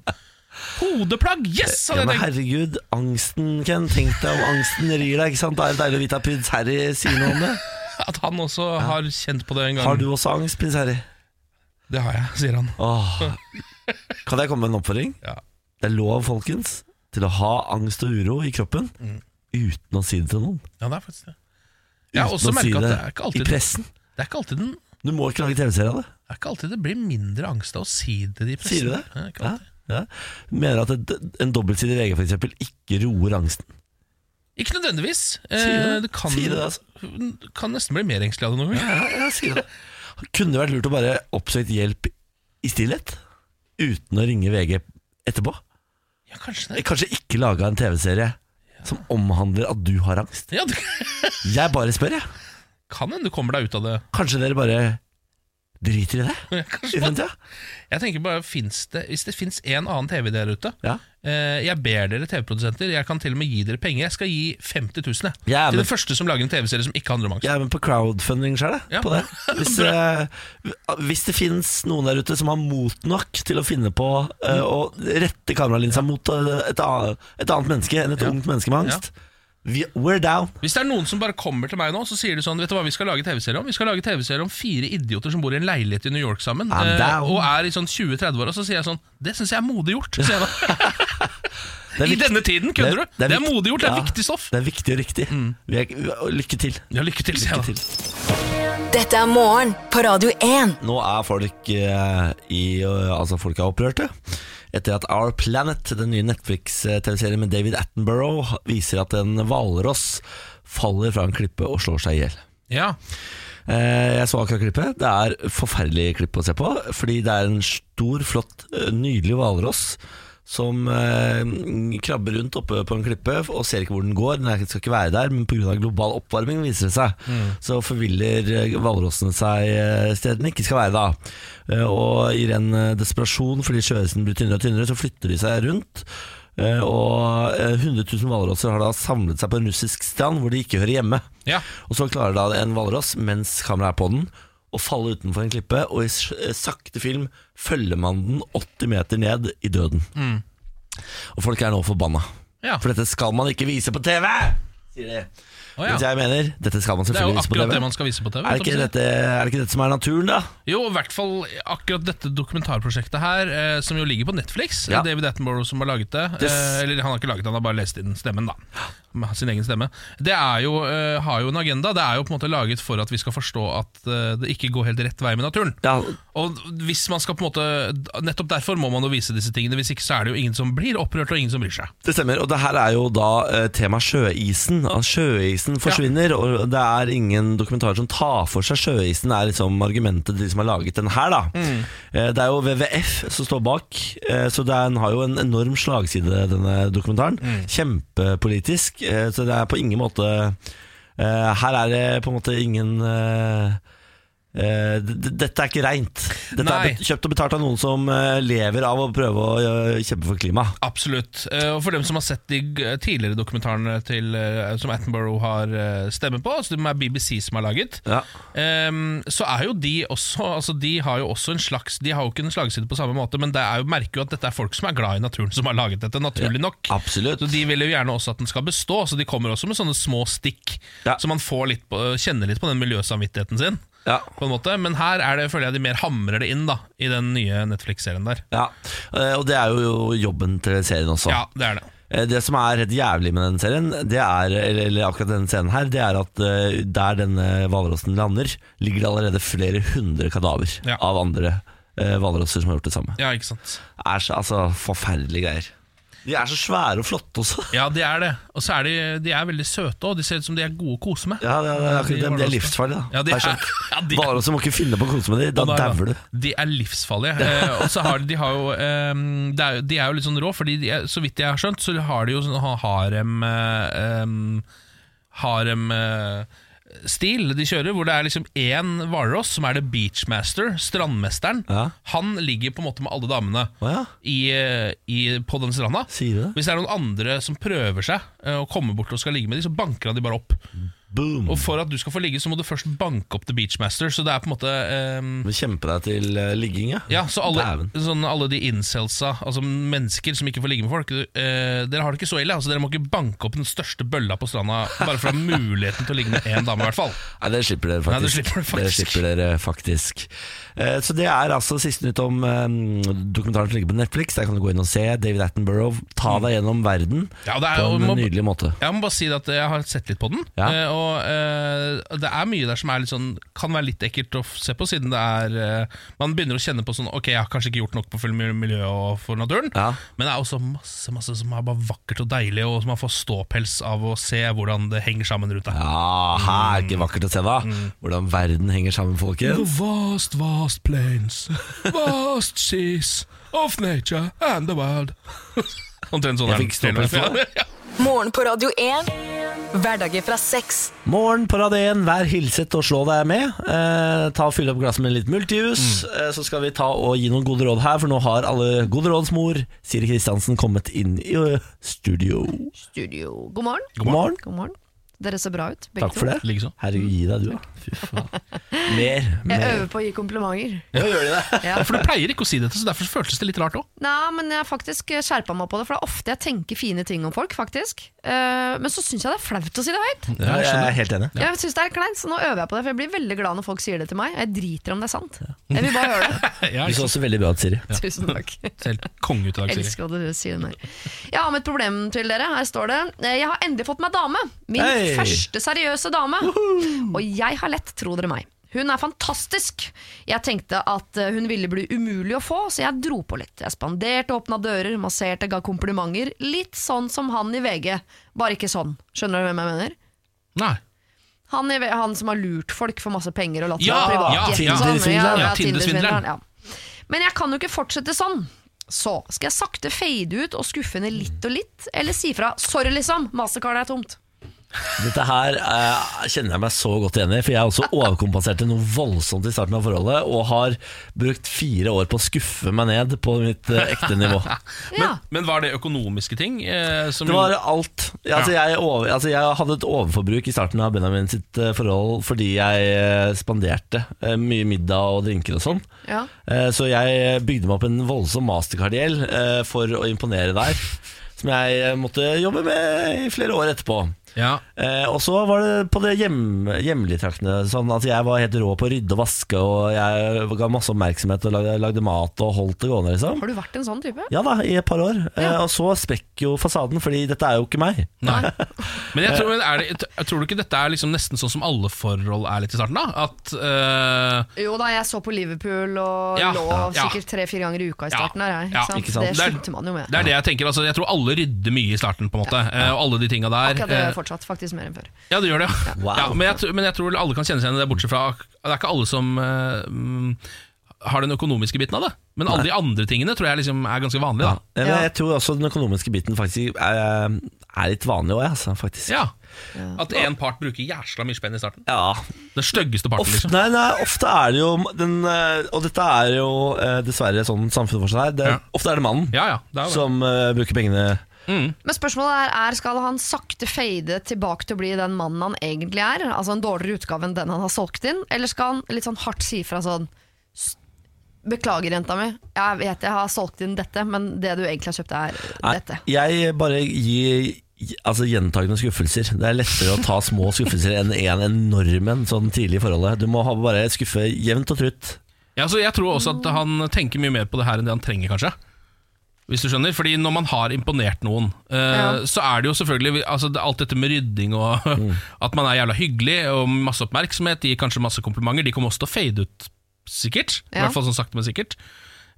Speaker 2: Hodeplagg, yes!
Speaker 1: Ja, men
Speaker 2: hadde jeg tenkt.
Speaker 1: herregud, angsten, Ken. Tenk deg om angsten rir deg. ikke sant? Da er det deilig å vite at prins Harry sier noe om det.
Speaker 2: At han også har kjent på det en gang.
Speaker 1: Har du også angst, prins Harry?
Speaker 2: Det har jeg, sier han.
Speaker 1: Åh. Kan jeg komme med en oppfordring?
Speaker 2: Ja.
Speaker 1: Det er lov, folkens, til å ha angst og uro i kroppen
Speaker 2: Mm.
Speaker 1: uten å si det til noen.
Speaker 2: Ja, det er faktisk det. Jeg har
Speaker 1: Uten
Speaker 2: også
Speaker 1: å si
Speaker 2: merket at det
Speaker 1: det
Speaker 2: er ikke
Speaker 1: i
Speaker 2: alltid det
Speaker 1: pressen.
Speaker 2: er ikke alltid den
Speaker 1: Du må ikke lage TV-serie av det.
Speaker 2: det er ikke alltid det blir mindre angst av å si det i pressen.
Speaker 1: Sier du det?
Speaker 2: Ja, ikke
Speaker 1: Ja,
Speaker 2: alltid.
Speaker 1: ja. Mener at et, en dobbeltsidig VG for eksempel ikke roer angsten.
Speaker 2: Ikke nødvendigvis.
Speaker 1: Sier du
Speaker 2: Eh,
Speaker 1: det?
Speaker 2: det kan,
Speaker 1: Sier du det, altså?
Speaker 2: Du kan nesten bli mer engstelig av det noen ganger.
Speaker 1: Ja, ja, sier det. Kunne det vært lurt å bare oppsøke hjelp i stillhet? Uten å ringe VG etterpå?
Speaker 2: Ja, kanskje det.
Speaker 1: Jeg Kanskje ikke laga en TV-serie som omhandler at du har angst?
Speaker 2: Ja, det
Speaker 1: Jeg bare spør, jeg.
Speaker 2: kan hende du kommer deg ut av det.
Speaker 1: Kanskje dere bare driter i det i
Speaker 2: Kanskje.
Speaker 1: fremtida?
Speaker 2: Jeg tenker bare, finnes det, Hvis det fins en annen TV der ute
Speaker 1: Ja.
Speaker 2: eh, Jeg ber dere TV-produsenter, jeg kan til og med gi dere penger. Jeg skal gi 50 000 jeg,
Speaker 1: Ja,
Speaker 2: til
Speaker 1: men-
Speaker 2: den første som lager en TV-serie som ikke handler om angst.
Speaker 1: Jeg er med på crowdfunding sjøl, jeg.
Speaker 2: Ja.
Speaker 1: På det. Hvis, eh, hvis det fins noen der ute som har mot nok til å finne på
Speaker 2: Mm.
Speaker 1: eh, å rette kameralinsa mot eh, et, annet- et annet menneske enn et ungt menneske med angst, vi, we're down.
Speaker 2: Hvis det er noen som bare kommer til meg nå Så sier de sånn Vet du hva vi skal lage TV-serie om? Vi skal lage TV-serie om fire idioter som bor i en leilighet i New York sammen.
Speaker 1: I'm down.
Speaker 2: og er i sånn 20-30 år. Og så sier jeg sånn Det syns jeg er modig gjort. Sier jeg da.
Speaker 1: Det
Speaker 2: I
Speaker 1: vikt-
Speaker 2: denne tiden, kødder du? Det er,
Speaker 1: vikt-
Speaker 2: modig gjort. Det er
Speaker 1: Ja,
Speaker 2: viktig stoff. Mm.
Speaker 1: Det er viktig og riktig. Vi er, lykke til.
Speaker 2: Ja, lykke til, sier
Speaker 1: Lykke
Speaker 2: jeg da.
Speaker 1: til.
Speaker 3: Dette er morgen på Radio 1.
Speaker 1: Nå er folk eh, i eh, Altså folk er opprørte Etter at Our Planet, den nye Netflix-tv-serien med David Attenborough Viser at en valross faller fra en klippe og slår seg ihjel
Speaker 2: Ja.
Speaker 1: Eh, Jeg så akkurat klippet. Det er forferdelig klipp å se på. Fordi det er en stor, flott, eh, nydelig hvalross som eh, krabber rundt oppe på en klippe og ser ikke hvor den går. Den er- skal ikke være der, men pga. global oppvarming viser det seg. Så forviller eh, hvalrossen seg eh, stedet den ikke skal være da. Eh, Og i ren eh, desperasjon fordi sjøisen blir tynnere og tynnere, så flytter de seg rundt. Eh, Og eh, 100 000 hvalrosser har da samlet seg på en russisk strand hvor de ikke hører hjemme.
Speaker 2: Ja.
Speaker 1: Og så klarer da en hvalross, mens kameraet er på den, å falle utenfor en klippe, og i s- eh, sakte film følger man den 80 meter ned i døden.
Speaker 2: Mm.
Speaker 1: Og folk er nå forbanna.
Speaker 2: Ja.
Speaker 1: For dette skal man ikke vise på TV! Sier de.
Speaker 2: Å,
Speaker 1: Mens
Speaker 2: ja.
Speaker 1: jeg mener, dette skal man
Speaker 2: Det er jo
Speaker 1: selvfølgelig vise på
Speaker 2: akkurat
Speaker 1: TV.
Speaker 2: det man skal vise på TV.
Speaker 1: Er det, ikke
Speaker 2: holdt jeg på å si.
Speaker 1: dette, er det ikke dette som er naturen, da?
Speaker 2: Jo, i hvert fall akkurat dette dokumentarprosjektet her, eh, som jo ligger på Netflix.
Speaker 1: Ja.
Speaker 2: David Attenborough som har laget det.
Speaker 1: Yes.
Speaker 2: Eh, eller han har ikke laget det, han har bare lest inn stemmen, da. Med Sin egen stemme. Det er jo, eh, har jo en agenda. Det er jo på en måte laget for at vi skal forstå at eh, det ikke går helt rett vei med naturen.
Speaker 1: Ja,
Speaker 2: Og hvis man skal på en måte Nettopp derfor må man jo vise disse tingene. Hvis ikke så er det jo ingen som blir opprørt, og ingen som bryr seg.
Speaker 1: det stemmer. Og det her er jo da eh, tema sjøisen. At sjøisen forsvinner, og det er ingen dokumentarer som tar for seg sjøisen, er liksom argumentet til de som har laget den her, da. Eh, det er jo WWF som står bak, eh, så den har jo en enorm slagside, denne dokumentaren. Kjempepolitisk, eh, så det er på ingen måte eh, Her er det på en måte ingen eh, Eh, d- d- dette er ikke reint. Dette
Speaker 2: Nei.
Speaker 1: er bet- kjøpt og betalt av noen som eh, lever av å prøve å eh, kjempe for klima.
Speaker 2: Absolutt. Eh, Og for dem som har sett de g- tidligere dokumentarene til, eh, som Attenborough har eh, stemme på, altså det er BBC som har laget,
Speaker 1: Ja.
Speaker 2: ehm, så er jo de også altså De har jo også en slags De har jo ikke en slagside på samme måte, men det er jo, merker jo at dette er folk som er glad i naturen, som har laget dette, naturlig nok.
Speaker 1: Absolutt.
Speaker 2: Så De vil jo gjerne også at den skal bestå, så de kommer også med sånne små stikk,
Speaker 1: Ja.
Speaker 2: så man får litt på, kjenner litt på den miljøsamvittigheten sin.
Speaker 1: Ja.
Speaker 2: På en måte. Men her er det, føler jeg de mer hamrer det inn da i den nye Netflix-serien der.
Speaker 1: Ja, eh, og det er jo jobben til serien også.
Speaker 2: Ja, det er det.
Speaker 1: Eh, Det som er helt jævlig med den serien, det er, eller, eller akkurat denne scenen her, det er at eh, der denne hvalrossen lander, ligger det allerede flere hundre kadaver
Speaker 2: Ja.
Speaker 1: av andre eh, hvalrosser som har gjort det samme.
Speaker 2: Ja, ikke sant
Speaker 1: Det er så, altså, forferdelige greier. De er så svære og flotte også.
Speaker 2: Ja, de er det. Og så er de, de er veldig søte, og de ser ut som de er gode å kose med.
Speaker 1: Ja, det er, det er akkurat dem. De er livsfarlige, da.
Speaker 2: Ja, de
Speaker 1: Har
Speaker 2: er-
Speaker 1: jeg skjønt.
Speaker 2: ja, de er-
Speaker 1: Hvalrosser må ikke finne på å kose med dem, da
Speaker 2: Og da er-
Speaker 1: dauer du.
Speaker 2: De er livsfarlige. Eh, og så har de, de har jo eh, det er, De er jo litt sånn rå, Fordi de er, så vidt jeg har skjønt, så har de jo sånn ha- harem eh, em, Harem eh, Stil de kjører, hvor det er liksom én hvalross som er the beachmaster, strandmesteren.
Speaker 1: Ja.
Speaker 2: Han ligger på en måte med alle damene
Speaker 1: Å ja.
Speaker 2: i, eh, i, på den stranda.
Speaker 1: Sier du det?
Speaker 2: Hvis det er noen andre som prøver seg eh, å komme bort og skal ligge med dem, så banker han de bare opp.
Speaker 1: Boom.
Speaker 2: Og for at du skal få ligge, så må du først banke opp The Beachmaster. Så det er på en måte ehm,
Speaker 1: Du må kjempe deg til eh, ligging, ja.
Speaker 2: ja, så alle,
Speaker 1: Dæven.
Speaker 2: sånn, alle de incelsa, altså mennesker som ikke får ligge med folk du, eh, Dere har det ikke så ille. Altså, dere må ikke banke opp den største bølla på stranda bare for å ha muligheten til å ligge med én dame, i hvert fall.
Speaker 1: Nei, det slipper dere
Speaker 2: Nei, det
Speaker 1: faktisk.
Speaker 2: slipper dere faktisk.
Speaker 1: slipper dere faktisk. Eh, Så det er altså siste nytt om eh, dokumentaren som ligger på Netflix. Der kan du gå inn og se David Attenborough ta deg gjennom verden
Speaker 2: Mm. Ja, det er,
Speaker 1: på
Speaker 2: og
Speaker 1: en
Speaker 2: må,
Speaker 1: nydelig måte.
Speaker 2: jeg må bare si at jeg har sett litt på den.
Speaker 1: Ja.
Speaker 2: eh, Og eh, det er mye der som er litt sånn, kan være litt ekkelt å f- se på, siden det er eh, Man begynner å kjenne på sånn Ok, jeg har kanskje ikke gjort nok på film- miljøet og for naturen,
Speaker 1: Ja.
Speaker 2: men det er også masse masse som er bare vakkert og deilig, og som man får ståpels av å se hvordan det henger sammen rundt deg.
Speaker 1: Ja, her er
Speaker 2: Mm.
Speaker 1: ikke vakkert å se, da. Hvordan verden henger sammen, folkens.
Speaker 2: vast, vast plains, vast seas of nature and the world. Omtrent sånn
Speaker 1: Jeg fikk ståpels nå.
Speaker 2: Ja.
Speaker 3: Morgen på Radio 1. Hverdager fra seks.
Speaker 1: Morgen på rad 1, vær hilset og slå deg med. Eh, ta og Fyll opp glasset med litt multijus,
Speaker 2: Mm.
Speaker 1: eh, så skal vi ta og gi noen gode råd her. For nå har alle gode råds mor, Siri Kristiansen, kommet inn i eh, studio.
Speaker 4: studio. God morgen.
Speaker 1: God morgen.
Speaker 4: God morgen. Dere ser bra ut, begge
Speaker 1: Takk for det.
Speaker 2: Likeså.
Speaker 1: Herregud, gi deg du, da. Fy faen. Mer.
Speaker 4: Jeg
Speaker 1: mer.
Speaker 4: øver på å gi komplimenter.
Speaker 1: Ja, gjør de det?
Speaker 4: Ja.
Speaker 2: Ja, For du pleier ikke å si dette, så derfor føltes det litt rart òg.
Speaker 4: Nei, men jeg har faktisk skjerpa meg på det, for det er ofte jeg tenker fine ting om folk, faktisk. Eh, men så syns jeg det er flaut å si det høyt.
Speaker 1: Ja, jeg er helt enig.
Speaker 4: Jeg syns det er kleint, så nå øver jeg på det, for jeg blir veldig glad når folk sier det til meg. Jeg driter om det er sant. Jeg vil bare høre det.
Speaker 1: Du så også veldig bra ut, Siri.
Speaker 4: Tusen takk.
Speaker 2: Helt konge ut i dag, Siri.
Speaker 4: Elsker at dere sier nei. Jeg har med et problem til dere. Her står det. Eh, Jeg har endelig fått meg dame. Min
Speaker 1: Hei!
Speaker 4: første seriøse dame. Og jeg har lett, tro dere meg. Hun er fantastisk. Jeg tenkte at eh, hun ville bli umulig å få, så jeg dro på litt. Jeg spanderte, åpna dører, masserte, ga komplimenter. Litt sånn som han i VG, bare ikke sånn. Skjønner du hvem jeg mener?
Speaker 2: Nei.
Speaker 4: Han, er, han som har lurt folk for masse penger og latt
Speaker 2: Ja,
Speaker 4: seg
Speaker 2: ja,
Speaker 4: privatjet
Speaker 1: ja.
Speaker 4: og sånn.
Speaker 1: Tinder-svindleren.
Speaker 2: Ja, Tinder-svindleren.
Speaker 4: ja. Men jeg kan jo ikke fortsette sånn. Så skal jeg sakte fade ut og skuffe henne litt og litt, eller si fra 'sorry, liksom, mastercardet er tomt'.
Speaker 1: Dette her eh, kjenner jeg meg så godt igjen i, for jeg også overkompenserte noe voldsomt i starten av forholdet, og har brukt fire år på å skuffe meg ned på mitt eh, ekte nivå.
Speaker 4: Ja.
Speaker 2: Men var det økonomiske ting? Eh, som
Speaker 1: Det var alt. Ja, altså, jeg, over, altså, jeg hadde et overforbruk i starten av Benjamin sitt eh, forhold fordi jeg eh, spanderte eh, mye middag og drinker og sånn.
Speaker 4: Ja.
Speaker 1: Eh, Så jeg bygde meg opp en voldsom mastercard-gjeld eh, for å imponere der, som jeg eh, måtte jobbe med i flere år etterpå.
Speaker 2: ja.
Speaker 1: Eh, og så var det på det hjem, hjemlige traktene. Sånn at jeg var helt rå på å rydde og vaske, og jeg ga masse oppmerksomhet og lagde, lagde mat og holdt det gående, liksom.
Speaker 4: Har du vært en sånn type?
Speaker 1: Ja da, i et par år. Eh, og så sprekker jo fasaden, fordi dette er jo ikke meg.
Speaker 2: Nei. Men jeg tror, men er det, jeg tror du ikke dette er liksom nesten sånn som alle forhold er litt i starten? da? At eh,
Speaker 4: Jo da, jeg så på Liverpool og
Speaker 2: Ja,
Speaker 4: lå
Speaker 2: ja.
Speaker 4: sikkert tre-fire ganger i uka i
Speaker 2: Ja,
Speaker 4: starten her. jeg,
Speaker 2: ja,
Speaker 1: ikke sant?
Speaker 4: Det
Speaker 2: Det er-
Speaker 4: sluttet man jo med.
Speaker 2: Det er det jeg tenker. altså Jeg tror alle rydder mye i starten, på en måte. eh, Og alle de tinga der.
Speaker 4: Akkurat det
Speaker 2: eh,
Speaker 4: fortsatt, faktisk mer enn før.
Speaker 2: Ja, det gjør det. ja.
Speaker 1: Wow.
Speaker 2: Ja, men, jeg, tr- men jeg tror alle kan kjenne seg igjen i det, bortsett fra ak- Det er ikke alle som eh, mm, har den økonomiske biten av det. Men alle de andre tingene tror jeg liksom er ganske vanlige. Da.
Speaker 1: Eh, Men
Speaker 4: Ja.
Speaker 1: jeg tror også den økonomiske biten faktisk er, er litt vanlig òg, altså, faktisk.
Speaker 2: Ja. At én part bruker jæsla mye spenn i starten.
Speaker 1: ja.
Speaker 2: Den styggeste parten,
Speaker 1: Ofte,
Speaker 2: liksom.
Speaker 1: nei, nei, ofte er det jo den, eh, Og dette er jo eh, dessverre sånn samfunnet fortsatt er. Det,
Speaker 2: Ja.
Speaker 1: Ofte er det mannen
Speaker 2: Ja, ja, det er jo det.
Speaker 1: som eh, bruker pengene.
Speaker 4: Men spørsmålet er, er skal han sakte fade tilbake til å bli den mannen han egentlig er? Altså en dårligere utgave enn den han har solgt inn? Eller skal han litt sånn hardt si fra sånn "S- Beklager, jenta mi. Jeg vet jeg har solgt inn dette, men det du egentlig har kjøpt, er
Speaker 1: Nei,
Speaker 4: dette.
Speaker 1: Jeg bare gir Altså Gjentakende skuffelser. Det er lettere å ta små skuffelser enn en enorm en sånn tidlig i forholdet. Du må ha bare skuffe jevnt og trutt.
Speaker 2: Ja, så jeg tror også at han tenker mye mer på det her enn det han trenger, kanskje. Hvis du skjønner, fordi Når man har imponert noen, eh,
Speaker 4: Ja.
Speaker 2: så er det jo selvfølgelig altså, det- alt dette med rydding og at man er jævla hyggelig og masse oppmerksomhet, gir kanskje masse komplimenter, de kommer også til å fade ut, sikkert. I
Speaker 4: Ja.
Speaker 2: hvert fall sånn sakte, men sikkert.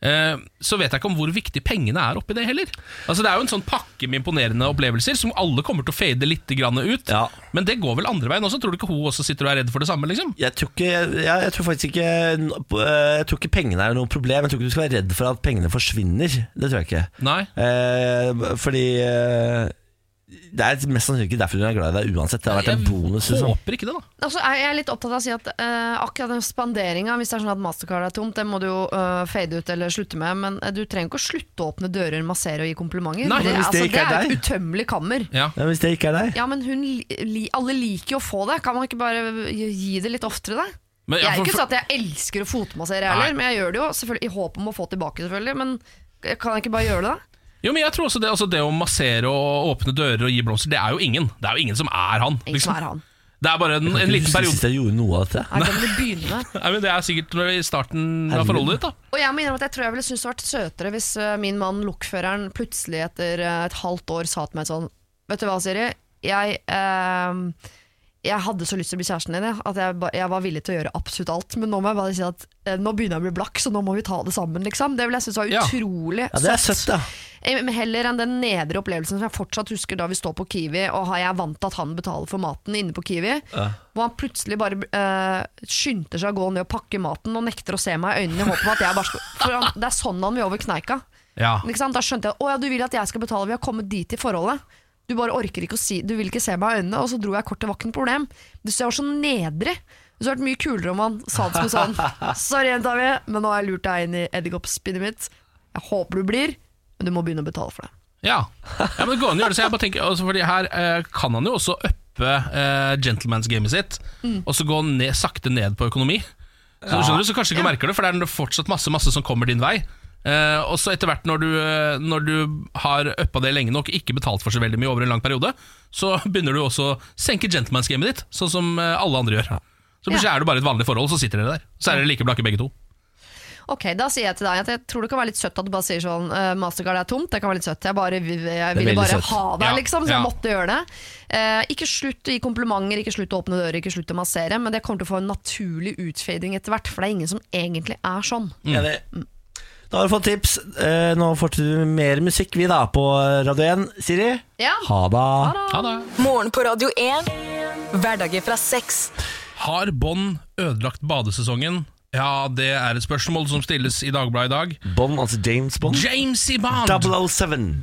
Speaker 2: Eh, så vet jeg ikke om hvor viktig pengene er oppi det heller. Altså Det er jo en sånn pakke med imponerende opplevelser som alle kommer til å fade litt grann ut.
Speaker 1: Ja.
Speaker 2: Men det går vel andre veien også? Tror du ikke hun også sitter og er redd for det samme? liksom?
Speaker 1: Jeg tror, ikke, jeg, jeg tror faktisk ikke eh, Jeg tror ikke pengene er noe problem. Jeg tror ikke du skal være redd for at pengene forsvinner. Det tror jeg ikke.
Speaker 2: Nei?
Speaker 1: Eh, fordi eh, Det er mest sannsynlig ikke derfor hun er glad i deg uansett. Det har vært en bonus.
Speaker 2: Jeg
Speaker 1: Liksom.
Speaker 2: håper ikke det, da.
Speaker 4: Og så er jeg litt opptatt av å si at eh, akkurat den spanderinga, hvis det er sånn at Mastercard er tomt, det må du jo eh, fade ut eller slutte med, men eh, du trenger ikke å slutte å åpne dører, massere og gi komplimenter.
Speaker 2: Nei,
Speaker 1: men hvis det ikke
Speaker 4: det
Speaker 1: er
Speaker 4: er jo
Speaker 1: deg.
Speaker 4: et utømmelig kammer.
Speaker 2: Ja.
Speaker 1: Ja, hvis det ikke er deg.
Speaker 4: Ja, men hun, li- li, alle liker jo å få det. Kan man ikke bare gi det litt oftere, da?
Speaker 2: Men,
Speaker 4: Jeg
Speaker 2: ja, for-
Speaker 4: er ikke sånn at jeg elsker å fotmassere jeg
Speaker 2: Nei.
Speaker 4: heller, men jeg gjør det jo selvfølgelig i håp om å få tilbake, selvfølgelig. Men kan jeg ikke bare gjøre det, da?
Speaker 2: Jo, men jeg tror også det, altså det å massere og åpne dører og gi blomster, det er jo ingen. Det er jo ingen som er han.
Speaker 4: Ingen
Speaker 2: liksom.
Speaker 4: som er han.
Speaker 2: Det er bare en, en
Speaker 1: Jeg
Speaker 2: liten
Speaker 1: synes
Speaker 2: periode.
Speaker 1: jeg gjorde noe av dette.
Speaker 4: Her kan du begynne med.
Speaker 2: Nei, men det er sikkert når- i starten av
Speaker 1: Herregud.
Speaker 2: forholdet ditt. da
Speaker 4: Og jeg må innrømme at jeg tror jeg ville syntes det vært søtere hvis eh, min mann, lokføreren, plutselig etter eh, et halvt år sa til meg sånn Vet du hva, Siri? Jeg, eh, jeg hadde så lyst til å bli kjæresten din, jeg, at jeg, ba, jeg var villig til å gjøre absolutt alt. Men nå må jeg bare si at eh, nå begynner jeg å bli blakk, så nå må vi ta det sammen, liksom. Det ville jeg synes var
Speaker 2: Ja.
Speaker 4: utrolig
Speaker 1: Ja, det er søtt, da.
Speaker 4: Eh, men Heller enn den nedre opplevelsen som jeg fortsatt husker da vi står på Kiwi, og har jeg er vant til at han betaler for maten inne på Kiwi, hvor han plutselig bare eh, skynder seg å gå ned og pakke maten og nekter å se meg i øynene i håp om at jeg bare skal For han, det er sånn han vil over kneika.
Speaker 2: Ja.
Speaker 4: Ikke sant? Da skjønte jeg å ja, du vil at jeg skal betale, vi har kommet dit i forholdet. Du bare orker ikke å si Du vil ikke se meg i øynene, og så dro jeg kort, det var ikke noe problem. Du synes jeg var så nedrig. Det hadde vært mye kulere om han sa det som sånn Sorry, jenta mi, men nå har jeg lurt deg inn i edderkoppspinnet mitt. Jeg håper du blir, men du må begynne å betale for det.
Speaker 2: ja. ja men det går an å gjøre det. Så jeg bare tenker, altså, fordi her eh, kan han jo også uppe eh, gentlemans-gamet sitt,
Speaker 4: Mm.
Speaker 2: og så gå ned, sakte ned på økonomi. Så du skjønner du, så kanskje ikke merker det, for det er fortsatt masse masse som kommer din vei. Eh, og så etter hvert, når du, eh, når du har uppa det lenge nok, ikke betalt for så veldig mye over en lang periode, så begynner du også å senke gentleman's-gamet ditt, sånn som eh, alle andre gjør. Så plutselig
Speaker 4: Ja.
Speaker 2: er det bare et vanlig forhold, så sitter dere der. Så er dere like blakke begge to.
Speaker 4: Ok, da sier jeg til deg at jeg tror det kan være litt søtt at du bare sier sånn «Eh, Mastercard er tomt, det kan være litt søtt. Jeg, bare, jeg ville
Speaker 1: veldig
Speaker 4: bare
Speaker 1: søtt.
Speaker 4: ha deg,
Speaker 2: Ja,
Speaker 4: liksom, så jeg
Speaker 2: ja.
Speaker 4: måtte gjøre det. Eh, ikke slutt å gi komplimenter, ikke slutt å åpne dører, ikke slutt å massere, men det kommer til å få en naturlig utfading etter hvert, for det er ingen som egentlig er sånn.
Speaker 2: Mm.
Speaker 1: Enig. Da har du fått tips. Eh, Nå får du mer musikk, vi, da, på Radio 1. Siri,
Speaker 4: Ja.
Speaker 1: ha det.
Speaker 4: Ha det.
Speaker 2: Ha det.
Speaker 3: Morgen på Radio 1. Hverdager fra sex.
Speaker 2: Har Bånd ødelagt badesesongen? Ja, det er et spørsmål som stilles i Dagbladet i dag.
Speaker 1: Bond, altså James Bond.
Speaker 2: James E. Bond!
Speaker 1: 007.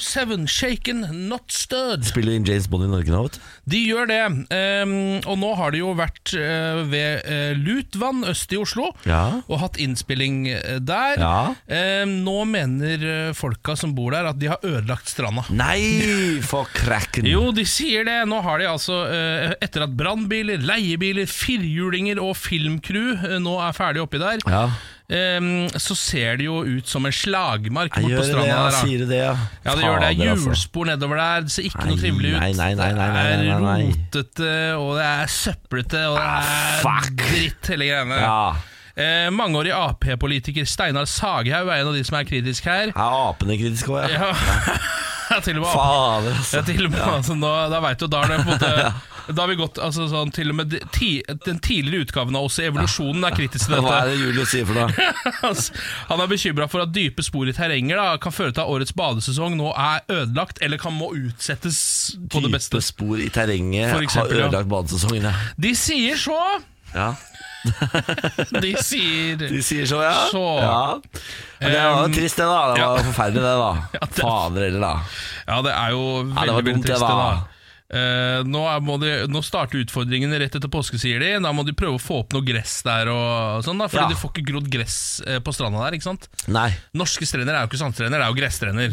Speaker 2: 007, shaken, not stirred.
Speaker 1: Spiller inn James Bond i Norge nå, vet du.
Speaker 2: De gjør det. ehm, og nå har de jo vært eh, ved eh, Lutvann øst i Oslo
Speaker 1: Ja.
Speaker 2: og hatt innspilling eh, der.
Speaker 1: Ja.
Speaker 2: Ehm, nå mener eh, folka som bor der, at de har ødelagt stranda.
Speaker 1: Nei, for krakken.
Speaker 2: Jo, de sier det. Nå har de altså, eh, etter at brannbiler, leiebiler, firhjulinger og filmcrew eh, nå er ferdig oppi der,
Speaker 1: Ja,
Speaker 2: ehm, så ser det jo ut som en slagmark
Speaker 1: jeg
Speaker 2: borte
Speaker 1: gjør
Speaker 2: på
Speaker 1: det,
Speaker 2: stranda.
Speaker 1: ja.
Speaker 2: der, da.
Speaker 1: Sier du det, ja.
Speaker 2: Ja, det gjør det. Det
Speaker 1: Fader,
Speaker 2: er
Speaker 1: altså.
Speaker 2: Hjulspor nedover der. Det ser ikke
Speaker 1: Nei,
Speaker 2: noe trivelig ut.
Speaker 1: nei, nei, nei, nei, nei, nei, nei, nei.
Speaker 2: Det er rotete, og det er søplete, og det
Speaker 1: Ah,
Speaker 2: er
Speaker 1: fuck.
Speaker 2: dritt hele greiene.
Speaker 1: Ja.
Speaker 2: Eh, mangeårig Ap-politiker Steinar Saghaug er en av de som er kritisk her.
Speaker 1: Er apene kritiske òg, Ah, ja?
Speaker 2: Ja, til og med Ap-
Speaker 1: Fader,
Speaker 2: ja,
Speaker 1: altså.
Speaker 2: til og med, altså, nå, da vet du, da er det på en måte Da har vi gått altså, sånn, til og med de- ti, Den tidligere utgaven av oss i Evolusjonen er kritisk til
Speaker 1: Hva
Speaker 2: dette.
Speaker 1: er det Julius sier for noe?
Speaker 2: Altså, Han er bekymra for at dype spor i terrenget da, kan føre til at årets badesesong nå er ødelagt, eller kan må utsettes på det beste.
Speaker 1: Dype spor i terrenget
Speaker 2: For eksempel, ja.
Speaker 1: har ødelagt badesesongen, ja.
Speaker 2: De sier så!
Speaker 1: ja.
Speaker 2: De sier
Speaker 1: De sier så, ja.
Speaker 2: Så.
Speaker 1: ja. Men det var jo
Speaker 2: Um,
Speaker 1: trist, det, da. Det var
Speaker 2: ja.
Speaker 1: forferdelig, det, da.
Speaker 2: Ja, det-
Speaker 1: Fader heller, da.
Speaker 2: Ja, det er jo
Speaker 1: det
Speaker 2: veldig,
Speaker 1: var
Speaker 2: veldig
Speaker 1: dumt, det
Speaker 2: trist, det,
Speaker 1: da.
Speaker 2: da. Eh, nå, er, må de, nå starter utfordringene rett etter påske, sier de. Da må de prøve å få opp noe gress der, og sånn da
Speaker 1: Ja.
Speaker 2: Fordi de får ikke grodd gress eh, på stranda der. ikke sant?
Speaker 1: Nei,
Speaker 2: Norske strender er jo ikke sandstrender, det er jo gresstrender.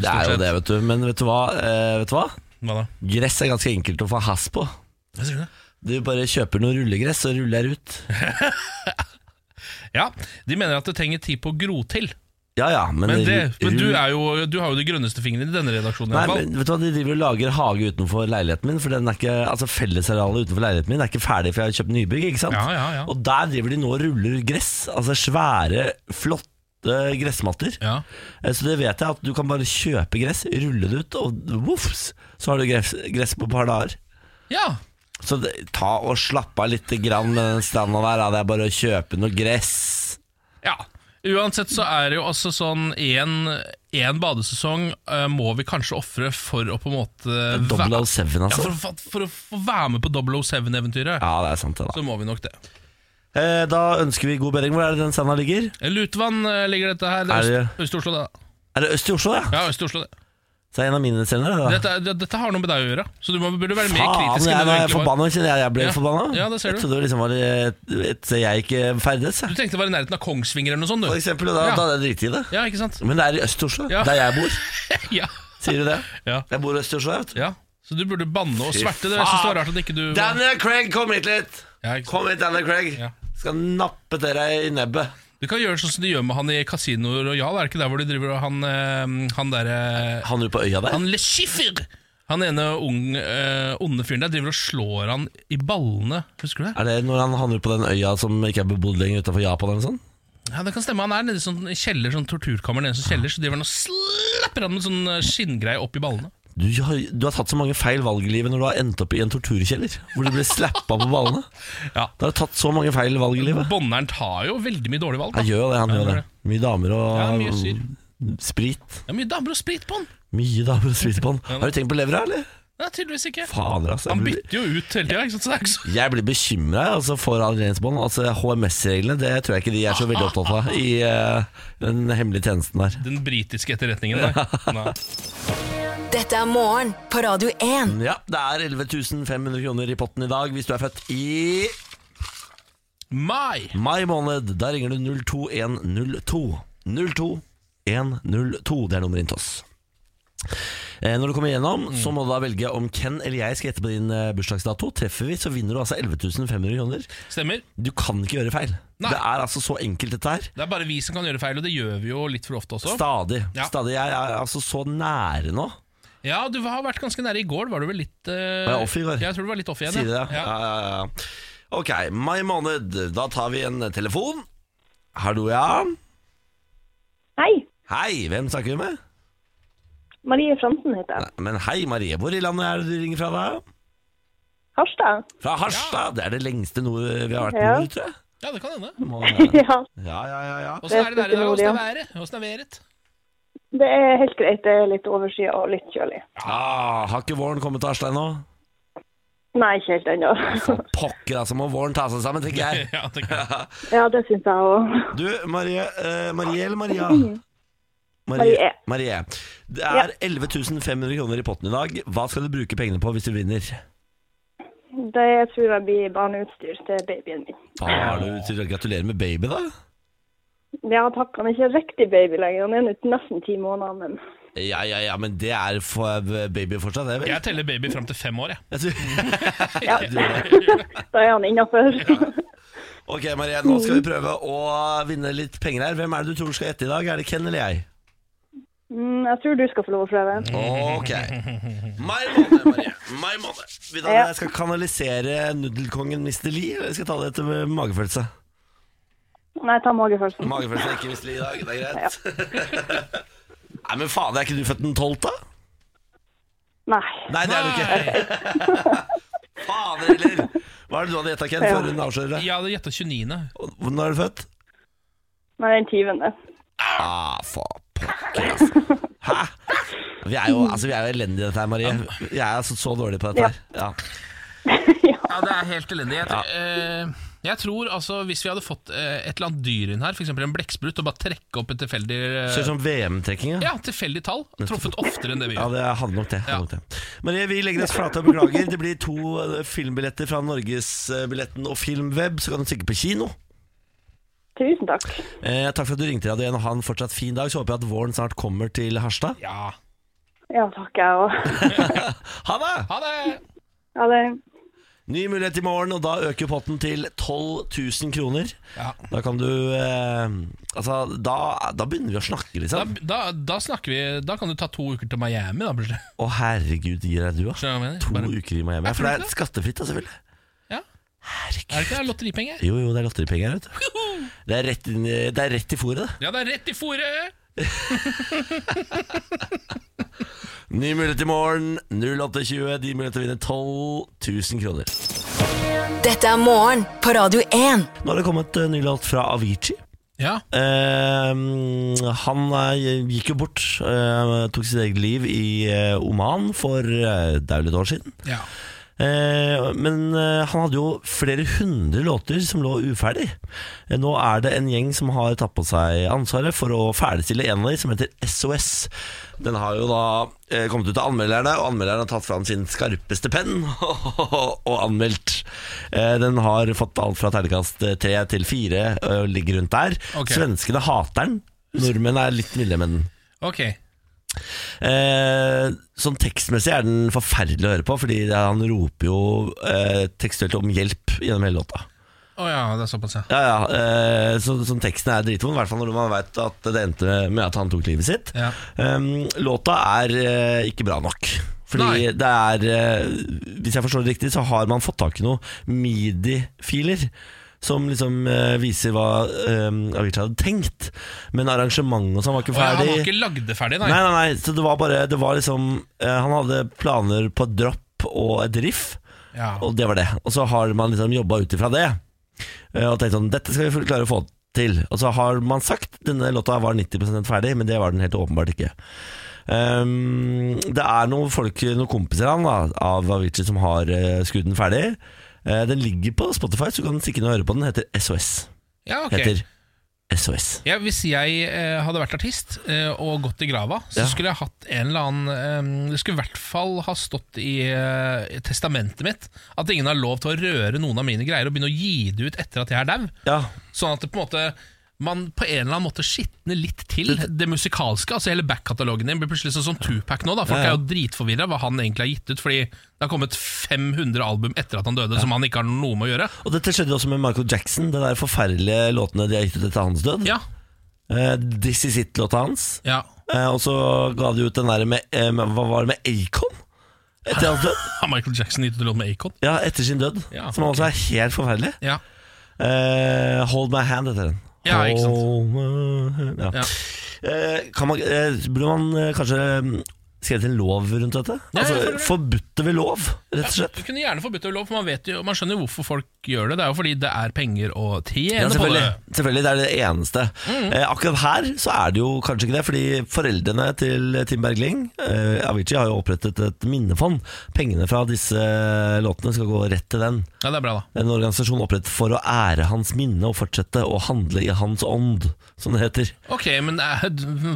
Speaker 1: det er jo
Speaker 2: stort
Speaker 1: det,
Speaker 2: sett.
Speaker 1: vet du. Men vet du hva? Eh, vet du hva?
Speaker 2: Hva da?
Speaker 1: Gress er ganske enkelt å få has på.
Speaker 2: Hva sier du?
Speaker 1: Du bare kjøper noe rullegress og ruller ut.
Speaker 2: Ja, De mener at det trenger tid på å gro til.
Speaker 1: Ja ja, men,
Speaker 2: Men, det,
Speaker 1: ru-
Speaker 2: men du,
Speaker 1: rull-
Speaker 2: er jo, du har jo de grønneste fingrene i denne redaksjonen. i
Speaker 1: Nei,
Speaker 2: hvert fall.
Speaker 1: men vet du hva, De driver og lager hage utenfor leiligheten min. For den er ikke, altså Fellesarealet utenfor leiligheten min er ikke ferdig, for jeg har kjøpt nybygg. ikke sant?
Speaker 2: Ja, ja, ja.
Speaker 1: Og der driver de nå og ruller gress. Altså svære, flotte gressmatter.
Speaker 2: ja.
Speaker 1: Eh, Så det vet jeg at du kan bare kjøpe gress, rulle det ut, og voffs, så har du gress, gress på et par dager.
Speaker 2: ja.
Speaker 1: Så det, ta og slapp av litt grann med den stranda der. da. Det er bare å kjøpe noe gress.
Speaker 2: ja. Uansett så er det jo altså sånn én badesesong eh, må vi kanskje ofre for å på en måte væ-
Speaker 1: 007,
Speaker 2: ja,
Speaker 1: altså.
Speaker 2: for, for, for å få være med på 007-eventyret.
Speaker 1: Ja, det er sant, det. da
Speaker 2: Så må vi nok det.
Speaker 1: eh, Da ønsker vi god bedring. Hvor er det den stranda ligger?
Speaker 2: Lutvann eh, ligger dette her.
Speaker 1: Er
Speaker 2: Det
Speaker 1: det-
Speaker 2: er Øst- Øst-Oslo, det.
Speaker 1: Er det øst i Oslo, ja?
Speaker 2: Ja, Øst-Oslo, det.
Speaker 1: Så er det en av mine strender. det, da.
Speaker 2: Dette, er- det- dette har noe med deg å gjøre, så du må, burde være
Speaker 1: Ah.
Speaker 2: mer
Speaker 1: Faen,
Speaker 2: kritisk.
Speaker 1: jeg
Speaker 2: enn du
Speaker 1: var
Speaker 2: egentlig var.
Speaker 1: forbanna, kjenner jeg. Jeg ble
Speaker 2: Ja.
Speaker 1: forbanna.
Speaker 2: Ja, det ser
Speaker 1: Jeg
Speaker 2: du.
Speaker 1: trodde det liksom var et et sted jeg ikke ferdes. jeg.
Speaker 2: Du tenkte det var i nærheten av Kongsvinger eller noe sånt,
Speaker 1: For
Speaker 2: du.
Speaker 1: eksempel, og da,
Speaker 2: Ja.
Speaker 1: da hadde jeg driti i det.
Speaker 2: Ja, ikke sant?
Speaker 1: Men det er i Øst-Oslo,
Speaker 2: Ja.
Speaker 1: der jeg bor.
Speaker 2: Ja.
Speaker 1: Sier du det?
Speaker 2: Ja.
Speaker 1: Jeg bor i Øst-Oslo, jeg, vet du.
Speaker 2: ja. Så du burde banne og
Speaker 1: Fy
Speaker 2: sverte. Det, jeg synes det var
Speaker 1: faen.
Speaker 2: rart at ikke du
Speaker 1: Daniel Craig, kom hit litt!
Speaker 2: Ja, ikke sant?
Speaker 1: Kom hit, Daniel Craig.
Speaker 2: Ja.
Speaker 1: Skal nappe til deg i nebbet.
Speaker 2: Du kan gjøre sånn som de gjør med han i Casino Royal. Er det ikke der hvor de driver og han, eh, han derre
Speaker 1: Han er på øya der?
Speaker 2: Han Le Chiffre! Han ene ung, eh, onde fyren der driver og slår han i ballene. Husker du det?
Speaker 1: Er det når han handler på den øya som ikke er bebodd lenger utenfor Japan? eller sånn?
Speaker 2: Ja, Det kan stemme. Han er nede i sånn kjeller, sånn torturkammer nede i sånn kjeller, så driver han og slapper han med sånn eh, skinngreie opp i ballene.
Speaker 1: Du har, du har tatt så mange feil valg i livet når du har endt opp i en torturkjeller. Hvor du ble slappa på ballene.
Speaker 2: Ja.
Speaker 1: Da har du tatt så mange feil valg i livet.
Speaker 2: Bonneren tar jo veldig mye dårlige valg.
Speaker 1: Han
Speaker 2: Da.
Speaker 1: gjør jo det, han
Speaker 2: Ja,
Speaker 1: gjør det.
Speaker 2: gjør
Speaker 1: Mye damer og
Speaker 2: Ja, mye syr.
Speaker 1: sprit.
Speaker 2: Det er mye damer og sprit på han.
Speaker 1: Mye damer og sprit på han. Har du tenkt på levra, eller?
Speaker 2: Nei, tydeligvis ikke.
Speaker 1: Fader, altså.
Speaker 2: Han
Speaker 1: Jeg blir,
Speaker 2: bytter jo ut hele tida, ikke sant. Så det er ikke så
Speaker 1: jeg blir bekymra altså, for adrenalinsbånd. Altså, HMS-reglene det tror jeg ikke de er så veldig opptatt av i eh, den hemmelige tjenesten der.
Speaker 2: den britiske etterretningen der. Nei.
Speaker 3: Dette er morgen på Radio 1.
Speaker 1: Ja, det er 11 500 kroner i potten i dag hvis du er født i
Speaker 2: Mai!
Speaker 1: mai måned. Da ringer du 02102. 02102, det er nummeret inn til oss. Eh, Når du kommer igjennom, så må du da velge om Ken eller jeg skal gjette på din eh, bursdagsdato. Treffer vi, så vinner du altså 11 500 kroner.
Speaker 2: Stemmer.
Speaker 1: Du kan ikke gjøre feil.
Speaker 2: Nei.
Speaker 1: Det er altså så enkelt dette her.
Speaker 2: Det er bare vi som kan gjøre feil, og det gjør vi jo litt for ofte også.
Speaker 1: Stadig.
Speaker 2: Ja.
Speaker 1: Stadig. Jeg er altså så nære nå.
Speaker 2: Ja, du har vært ganske nære i går. Var du vel litt eh,
Speaker 1: Var jeg off i går?
Speaker 2: Jeg tror du var litt off igjen.
Speaker 1: Sier de det? Ja. Ja,
Speaker 2: Ja.
Speaker 1: ja, ja. Ok, mai måned. Da tar vi en telefon. Hallo, ja.
Speaker 5: Hei,
Speaker 1: Hei, hvem snakker vi med?
Speaker 5: Marie Fransen heter jeg.
Speaker 1: Men hei, Marie. Hvor i landet er det du ringer fra? da?
Speaker 5: Harstad?
Speaker 1: Fra Harstad. Det er det lengste nord vi har vært
Speaker 5: Ja.
Speaker 1: nord, tror jeg.
Speaker 2: Ja, det kan hende.
Speaker 1: Må- Ja,
Speaker 5: Ja,
Speaker 1: ja, ja, ja.
Speaker 2: Åssen er det der i dag? Åssen er været? Åssen er været?
Speaker 5: det er helt greit. Det er litt overskyet og litt kjølig.
Speaker 1: Ah, har ikke våren kommet til Harstad ennå?
Speaker 5: Nei, ikke helt ennå.
Speaker 1: For pokker, altså, må våren ta seg sammen, tenker jeg.
Speaker 2: Ja, tenker jeg.
Speaker 5: Ja, det syns jeg òg.
Speaker 1: Du, Marie, eh, Marie eller Maria?
Speaker 5: Marie.
Speaker 1: Marie. Det
Speaker 5: Ja.
Speaker 1: er 11 500 kroner i potten i dag. Hva skal du bruke pengene på hvis du vinner?
Speaker 5: Det tror jeg blir barneutstyr til babyen min.
Speaker 1: Har du til å gratulere med baby, da?
Speaker 5: Ja takk, han er ikke riktig baby lenger. Han er nå nesten ti måneder, men
Speaker 1: Ja, ja, ja, men det er for baby fortsatt, det, vel?
Speaker 2: Jeg teller baby fram til fem år, jeg.
Speaker 1: Jeg tror-
Speaker 5: ja,
Speaker 1: Du gjør det.
Speaker 5: da er han innafor.
Speaker 1: Ok, Marie, nå skal
Speaker 5: Mm.
Speaker 1: vi prøve å vinne litt penger her. Hvem er det du tror skal gjette i dag? Er det Ken eller jeg?
Speaker 5: Mm, jeg tror du skal få lov å prøve.
Speaker 1: Ok. Mai måned, Marie. Mai måned. Vil du at
Speaker 5: Ja.
Speaker 1: jeg skal kanalisere nudelkongen Mr. Lee, eller skal jeg ta det etter med magefølelse?
Speaker 5: Nei, ta magefølelsen.
Speaker 1: Magefølelse er ikke Mr. Lee i dag, det er greit. Nei, men faen, er ikke du født den 12., da?
Speaker 5: Nei.
Speaker 1: Nei, det er du ikke. Fader heller. Hva er det du hadde gjetta, Ken,
Speaker 5: Ja.
Speaker 1: før hun avslører det?
Speaker 2: Jeg hadde gjetta 29.
Speaker 1: Når er du født?
Speaker 5: Nei, den tyvende.
Speaker 1: Ah, for pokker, altså. Hæ? Vi er jo, altså, vi er jo elendige i dette her, Marie. Jeg er altså så dårlig på dette her. Ja.
Speaker 2: Ja, det er helt elendig. Jeg, tror- eh, jeg tror altså Hvis vi hadde fått eh, et eller annet dyr inn her, f.eks. en blekksprut, og bare trekke opp et tilfeldig eh,
Speaker 1: Ser ut som VM-trekkinga.
Speaker 2: ja, tilfeldig tall, truffet oftere enn det vi
Speaker 1: Ja,
Speaker 2: gjør.
Speaker 1: det handler nok det. handler nok det. Marie, vi legger oss flate og beklager. Det blir to eh, filmbilletter fra Norgesbilletten og Filmweb, så kan du stikke på kino.
Speaker 5: Tusen takk.
Speaker 1: Eh, takk for at du ringte Radio 1, og ha en fortsatt fin dag. Så håper jeg at våren snart kommer til Harstad.
Speaker 2: Ja.
Speaker 5: Ja takk, jeg òg.
Speaker 1: Ha det!
Speaker 2: Ha det!
Speaker 5: Ja, det
Speaker 1: Ny mulighet i morgen, og da øker potten til 12 000 kroner.
Speaker 2: Ja.
Speaker 1: Da kan du eh, Altså, da, da begynner vi å snakke,
Speaker 2: Da,
Speaker 1: liksom.
Speaker 2: da, da snakker vi Da kan du ta to uker til Miami, da, plutselig.
Speaker 1: Å, herregud, gir deg du, ass.
Speaker 2: Skjønner du hva jeg
Speaker 1: To
Speaker 2: mener? Bare-
Speaker 1: uker i Miami.
Speaker 2: Er
Speaker 1: For det
Speaker 2: det
Speaker 1: er skattefritt, da, selvfølgelig.
Speaker 2: Ja. Er det
Speaker 1: Herregud.
Speaker 2: ikke det? lotteripenger?
Speaker 1: Jo, jo, det er lotteripenger her, vet du. Det er rett, inn, i- det er rett i fôret, det.
Speaker 2: Ja, det er rett i fòret!
Speaker 1: Ny mulighet i morgen, 08.20. De mulighet til å vinne 12 000 kroner.
Speaker 3: Dette er morgen på Radio 1.
Speaker 1: Nå har det kommet eh, ny låt fra Avicii.
Speaker 2: Ja.
Speaker 1: Eh, han eh, gikk jo bort, eh, tok sitt eget liv i eh, Oman for eh, det er vel et år siden.
Speaker 2: ja.
Speaker 1: Eh, men eh, han hadde jo flere hundre låter som lå uferdig. Eh, nå er det en gjeng som har tatt på seg ansvaret for å ferdigstille en av de, som heter SOS. Den har jo da eh, kommet ut til anmelderne, og anmelderne har tatt fram sin skarpeste penn og anmeldt. Eh, den har fått alt fra terningkast tre til fire eh, og ligger rundt der.
Speaker 2: Ok.
Speaker 1: Svenskene hater den. Nordmenn er litt milde med den.
Speaker 2: Ok.
Speaker 1: Eh, sånn tekstmessig er den forferdelig å høre på, fordi det- han roper jo eh, tekstuelt om hjelp gjennom hele låta.
Speaker 2: Å ja, det er såpass, ja.
Speaker 1: Ja, ja, eh, så, sånn teksten er dritvond, i hvert fall når man veit at det endte med at han tok livet sitt.
Speaker 2: Ja.
Speaker 1: Um, låta er eh, ikke bra nok. Fordi
Speaker 2: Nei.
Speaker 1: det er eh, Hvis jeg forstår det riktig, så har man fått tak i noen midi-filer. Som liksom eh, viser hva eh, Avicii hadde tenkt. Men arrangementet og sånn var ikke
Speaker 2: Å, ja, han
Speaker 1: ferdig.
Speaker 2: har ikke lagd det ferdig, nei.
Speaker 1: Nei, nei, nei, så det var bare det var liksom, eh, Han hadde planer på et dropp og et riff
Speaker 2: Ja.
Speaker 1: Og det var det Og så har man liksom jobbet utifra det eh, Og tenkt sånn, dette skal vi klare å få til Og så har man sagt, denne låta var 90% ferdig Men det var den helt åpenbart ikke Ehm, Det er noen folk, noen kompiser han da Av Avicii som har eh, skutt den ferdig Eh, Den ligger på Spotify, så du kan stikke inn og høre på den Den heter SOS
Speaker 2: ja ok.
Speaker 1: Heter SOS
Speaker 2: Ja, hvis jeg eh, hadde vært artist eh, og gått i grava, så
Speaker 1: Ja.
Speaker 2: skulle jeg hatt en eller annen eh, Det skulle i hvert fall ha stått i eh, i testamentet mitt at ingen har lov til å røre noen av mine greier og begynne å gi det ut etter at jeg er dau.
Speaker 1: Ja,
Speaker 2: Sånn at det på en måte man på en eller annen måte skitner litt til det musikalske. altså Hele back-katalogen din blir plutselig sånn som Tupac nå. da Folk
Speaker 1: Ja, ja.
Speaker 2: er jo dritforvirra hva han egentlig har gitt ut, fordi det har kommet 500 album etter at han døde som han ikke har noe med å gjøre.
Speaker 1: Og dette skjedde jo også med Michael Jackson, de der forferdelige låtene de har gitt ut etter hans død.
Speaker 2: Ja,
Speaker 1: Eh, This Is It-låta hans.
Speaker 2: ja
Speaker 1: Eh, og så ga de ut den der med, eh, med Hva var det med Acon? Etter hans død?
Speaker 2: Har Michael Jackson gitt ut en låt med Acon?
Speaker 1: Ja, etter sin død.
Speaker 2: Ja,
Speaker 1: som også er helt forferdelig.
Speaker 2: Ja.
Speaker 1: Eh, Hold My Hand heter den.
Speaker 2: Ja, ikke sant.
Speaker 1: Hold my hand. Ja.
Speaker 2: Ja.
Speaker 1: Eh, kan man, eh, burde man eh, kanskje mm, skrevet en lov rundt dette?
Speaker 2: Ja, jeg føler
Speaker 1: Altså,
Speaker 2: det.
Speaker 1: Forbudte ved lov, rett og slett.
Speaker 2: Du kunne gjerne forbudt det ved lov, for man, vet jo, man skjønner jo hvorfor folk gjør det. Det er jo fordi det er penger å tjene
Speaker 1: Ja,
Speaker 2: på
Speaker 1: selvfølgelig,
Speaker 2: det. Mm.
Speaker 1: selvfølgelig. Det er det eneste. Eh, akkurat her så er det jo kanskje ikke det, fordi foreldrene til Tim Bergling, eh, Avicii, har jo opprettet et minnefond. Pengene fra disse eh, låtene skal gå rett til den.
Speaker 2: Ja, det er bra, da.
Speaker 1: En organisasjon opprettet for å ære hans minne og fortsette å handle i hans ånd, som det heter.
Speaker 2: Ok, men eh,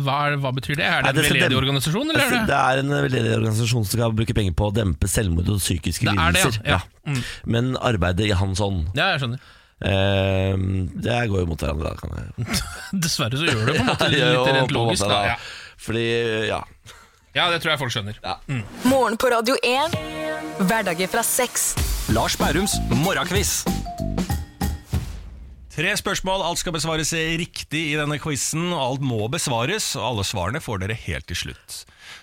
Speaker 2: hva, er, hva betyr det? Er det
Speaker 1: Nei,
Speaker 2: en
Speaker 1: skal
Speaker 2: veldedig
Speaker 1: dem-
Speaker 2: organisasjon, eller er det
Speaker 1: Det er en veldedig organisasjon som skal bruke penger på å dempe selvmord og psykiske
Speaker 2: Det er det,
Speaker 1: lidelser.
Speaker 2: ja. Mm.
Speaker 1: Men arbeidet i hans ånd,
Speaker 2: Ja, jeg skjønner.
Speaker 1: eh, det går jo mot hverandre, da, kan jeg
Speaker 2: Dessverre så gjør det på en måte
Speaker 1: Det gjør jo
Speaker 2: litt
Speaker 1: på
Speaker 2: rent
Speaker 1: en måte
Speaker 2: logisk.
Speaker 1: det,
Speaker 2: Da. Ja.
Speaker 1: Fordi, ja.
Speaker 2: ja, det tror jeg folk skjønner.
Speaker 3: Morgen på Radio 1. Hverdager fra seks.
Speaker 6: Lars Bærums morgenquiz. Tre spørsmål, alt skal besvares riktig i denne quizen, og alt må besvares, og alle svarene får dere helt til slutt.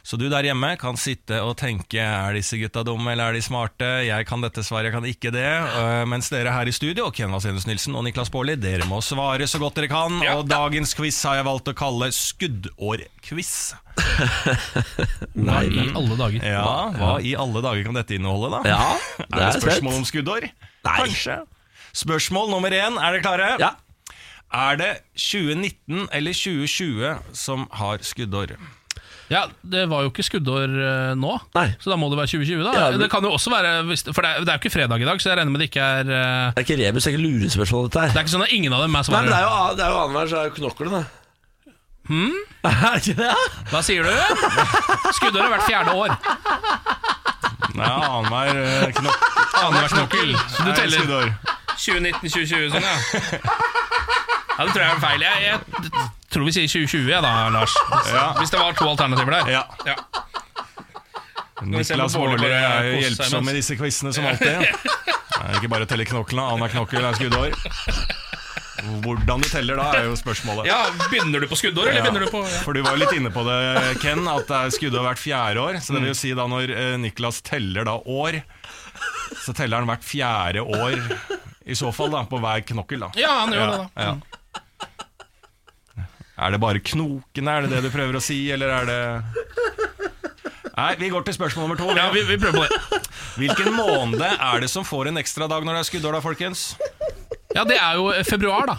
Speaker 6: Så du der hjemme kan sitte og tenke er disse gutta dumme eller er de smarte, jeg kan dette svaret, jeg kan ikke det, øh, mens dere her i studio, Ken Vasenus Nilsen og Niklas Baarli, dere må svare så godt dere kan,
Speaker 2: Ja.
Speaker 6: og dagens quiz har jeg valgt å kalle skuddårquiz.
Speaker 2: Hva i alle dager?
Speaker 6: Ja, hva i alle dager kan dette inneholde da?
Speaker 1: ja
Speaker 6: Er det spørsmål om skuddår?
Speaker 1: Nei.
Speaker 6: Kanskje. Spørsmål nummer én, er dere klare?
Speaker 1: Ja.
Speaker 6: Er det 2019 eller 2020 som har skuddår?
Speaker 2: Ja, Det var jo ikke skuddår eh, nå,
Speaker 1: Nei.
Speaker 2: så da må det være 2020. da
Speaker 1: Ja, men-
Speaker 2: Det kan jo også være, hvis- For det er, det er jo ikke fredag i dag, så jeg regner med det ikke er eh,
Speaker 1: Det er ikke rebus, det er ikke lurespørsmål, dette
Speaker 2: Det
Speaker 1: her.
Speaker 2: er ikke sånn at ingen av dem er
Speaker 1: Nei, men det
Speaker 2: svarere.
Speaker 1: er jo, det er jo annenhver, så er jo knoklene. Hmm? Er det ikke det? ja?
Speaker 2: Hva sier du? Skuddår hvert fjerde år.
Speaker 6: Nei, annenhver eh, knokk.
Speaker 2: Annenhver knokkel. Så du
Speaker 6: er
Speaker 2: teller
Speaker 6: skuddår.
Speaker 2: 2019-2020 sånn, ja. Ja, Det tror jeg er feil. Jeg, jeg tror vi sier 2020, ja, da, Lars. Hvis,
Speaker 6: Ja.
Speaker 2: hvis det var to alternativer der.
Speaker 6: Ja.
Speaker 2: vi se
Speaker 6: Niklas
Speaker 2: på Bård
Speaker 6: Baarli er
Speaker 2: bare
Speaker 6: jo
Speaker 2: kose seg med
Speaker 6: hjelpsom i
Speaker 2: oss.
Speaker 6: disse quizene som alltid. Det er ikke bare å telle knoklene, annenhver knokkel er skuddår. Hvordan du teller da, er jo spørsmålet.
Speaker 2: Ja, Begynner du på skuddår, eller
Speaker 6: Ja,
Speaker 2: begynner du på ja.
Speaker 6: For du var jo litt inne på det, Ken, at det er skuddår hvert fjerde år. Så det vil jo si da når eh, Niklas teller da år, så teller han hvert fjerde år i så fall da, på hver knokkel. da
Speaker 2: ja, han gjør det, da.
Speaker 6: Ja. Er det bare knokene, er det det du prøver å si, eller er det Nei, vi går til spørsmål nummer to.
Speaker 2: Ja, vi, vi prøver på det.
Speaker 6: Hvilken måned er det som får en ekstra dag når det er skuddår, da, folkens?
Speaker 2: Ja, det er jo eh, februar, da.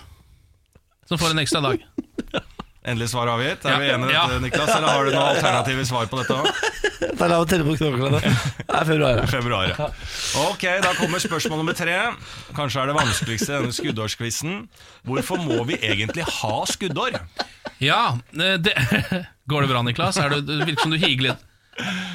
Speaker 2: Som får en ekstra dag.
Speaker 6: Endelig svar avgitt. Er vi
Speaker 2: Ja.
Speaker 6: enige i
Speaker 2: Ja.
Speaker 6: dette, Niklas, eller har du noen alternative svar på dette òg?
Speaker 1: Det er lov å telle på knoklene. Det er februar. ja.
Speaker 6: februar. ja. Ok, da kommer spørsmål nummer tre. Kanskje er det vanskeligste i denne skuddårskvissen. Hvorfor må vi egentlig ha skuddår?
Speaker 2: Ja, eh, det Går det bra, Niklas? Er du, det virker som du higer litt.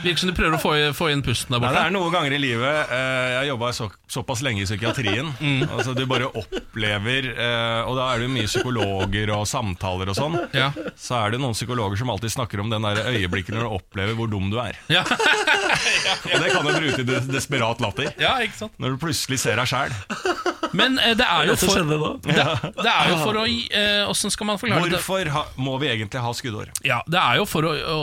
Speaker 2: Virker som du prøver å få, i- få inn pusten der
Speaker 6: Nei, det
Speaker 2: borte.
Speaker 6: er noen ganger i livet eh, Jeg jobba så, såpass lenge i psykiatrien. Altså, du bare opplever eh, Og da er det jo mye psykologer og samtaler og sånn.
Speaker 2: Ja.
Speaker 6: Så er det noen psykologer som alltid snakker om den der øyeblikket når du opplever hvor dum du er.
Speaker 2: Ja.
Speaker 6: Og det kan du bruke til des desperat latter.
Speaker 2: ja, ikke sant?
Speaker 6: Når du plutselig ser deg sjæl.
Speaker 2: Men eh, det er jo
Speaker 1: Så
Speaker 2: for,
Speaker 1: skjønner jeg nå.
Speaker 2: det, det er jo for å gi- eh, Åssen skal man forklare det?
Speaker 6: Hvorfor ha, må vi egentlig ha skuddår?
Speaker 2: Ja, det er jo for å, å,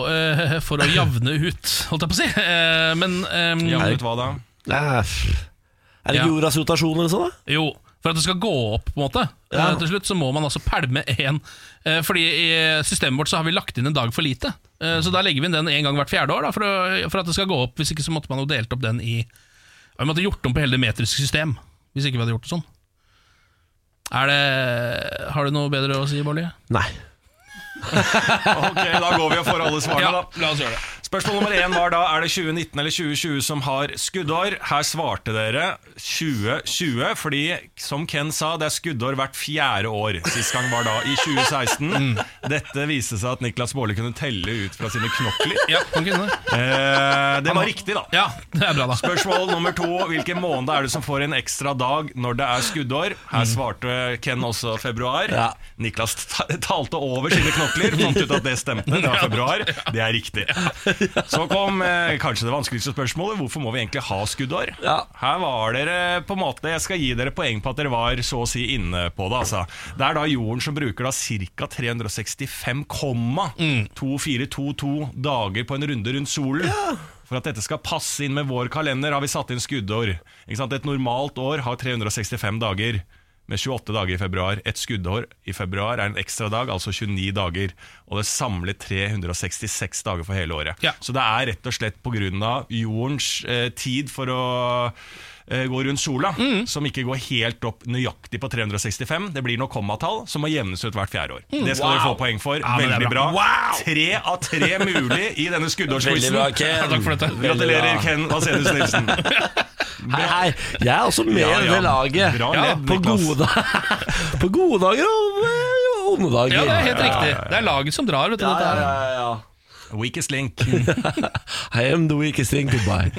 Speaker 2: eh, for å javne ut, holdt jeg på å si. Eh, Men ehm,
Speaker 6: Jevn ut hva da?
Speaker 1: Nei, Er det
Speaker 2: Ja.
Speaker 1: ikke jordas rotasjon eller sånn, da?
Speaker 2: jo, for at det skal gå opp, på en måte,
Speaker 1: Ja.
Speaker 2: eh, til slutt, så må man altså pælme én. Eh, Fordi i systemet vårt så har vi lagt inn en dag for lite. Eh, Så da legger vi inn den én gang hvert fjerde år, da, for, å, for at det skal gå opp. Hvis ikke så måtte man jo delt opp den i Vi måtte gjort om på hele det metriske system, hvis ikke vi hadde gjort det sånn. Er det Har du noe bedre å si, Bolli?
Speaker 1: Nei.
Speaker 6: Ok, da går vi og får alle svarene, da.
Speaker 2: la oss gjøre det.
Speaker 6: Spørsmål nummer én var da er det 2019 eller 2020 som har skuddår. Her svarte dere 2020, fordi som Ken sa, det er skuddår hvert fjerde år. Sist gang var da i
Speaker 2: Mm.
Speaker 6: 2016. Dette viste seg at Niklas Baarli kunne telle ut fra sine knokler.
Speaker 2: Ja, kan ikke det?
Speaker 6: Eh, det var riktig, da.
Speaker 2: ja, det er bra, da.
Speaker 6: Spørsmål nummer to. Hvilken måned er det som får en ekstra dag når det er skuddår? Her svarte Ken også februar.
Speaker 1: Mm. Ja.
Speaker 6: Niklas ta- talte over sine knokler, fant ut at det stemte. Det var februar. Det er riktig. Så kom eh, kanskje det vanskeligste spørsmålet. Hvorfor må vi egentlig ha skuddår?
Speaker 1: Ja.
Speaker 6: Her var dere på en måte Jeg skal gi dere poeng på at dere var så å si inne på det. Altså. Det er da jorden som bruker da ca. 365,2422 dager på en runde rundt solen. For at dette skal passe inn med vår kalender, har vi satt inn skuddår. Ikke sant? Et normalt år har 365 dager. med 28 dager i februar. Et skuddår i februar er en ekstra dag, altså 29 dager. Og det samler 366 dager for hele året.
Speaker 2: Ja.
Speaker 6: Så det er rett og slett pga. jordens eh, tid for å eh, gå rundt sola,
Speaker 1: Mm.
Speaker 6: som ikke går helt opp nøyaktig på 365. Det blir noe kommatall som må jevnes ut hvert fjerde år. Det skal dere
Speaker 1: Mm. Wow.
Speaker 6: få poeng for.
Speaker 2: Ja, men det er
Speaker 6: Veldig bra.
Speaker 2: bra.
Speaker 6: Tre av tre mulig i denne
Speaker 1: Veldig
Speaker 6: skuddårsquizen.
Speaker 1: bra, Ken.
Speaker 2: Takk for dette.
Speaker 1: Veldig
Speaker 6: Gratulerer,
Speaker 1: bra.
Speaker 6: Ken Vasenius Nilsen.
Speaker 1: Hei, hei. Jeg er også med i
Speaker 6: Ja, ja.
Speaker 1: det laget.
Speaker 6: Bra ledd,
Speaker 1: på,
Speaker 6: Niklas.
Speaker 1: gode, da- på gode dager og eh, onde dager.
Speaker 2: Ja, det er helt
Speaker 1: Ja,
Speaker 2: riktig. Det er laget som drar, vet du.
Speaker 1: ja,
Speaker 2: dette her.
Speaker 1: ja, ja, ja.
Speaker 6: Weakest link.
Speaker 1: I am the weakest thing, goodbye.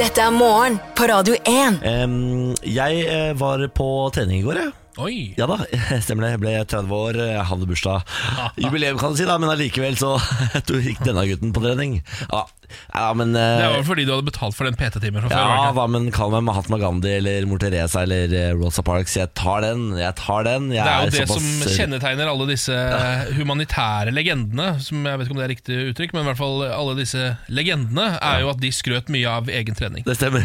Speaker 3: Dette er morgen på Radio 1.
Speaker 1: Em, jeg eh, var på trening i går, jeg.
Speaker 2: Oi.
Speaker 1: Ja da, stemmer det. Jeg ble 30 år, jeg hadde bursdag. Jubileum, kan du si, da, men allikevel så gikk denne gutten på trening. Ja, ja men eh,
Speaker 2: Det var vel fordi du hadde betalt for den PT-timen fra før. var det
Speaker 1: ja,
Speaker 2: ikke?
Speaker 1: hva men kall meg Mahatma Gandhi eller Mor Teresa eller eh, Rosa Parks. Jeg tar den, jeg tar den. Jeg
Speaker 2: Det er jo det som
Speaker 1: såpass-
Speaker 2: kjennetegner alle disse humanitære legendene. Som Jeg vet ikke om det er riktig uttrykk, men i hvert fall alle disse legendene er jo at de skrøt mye av egen trening.
Speaker 1: Det stemmer.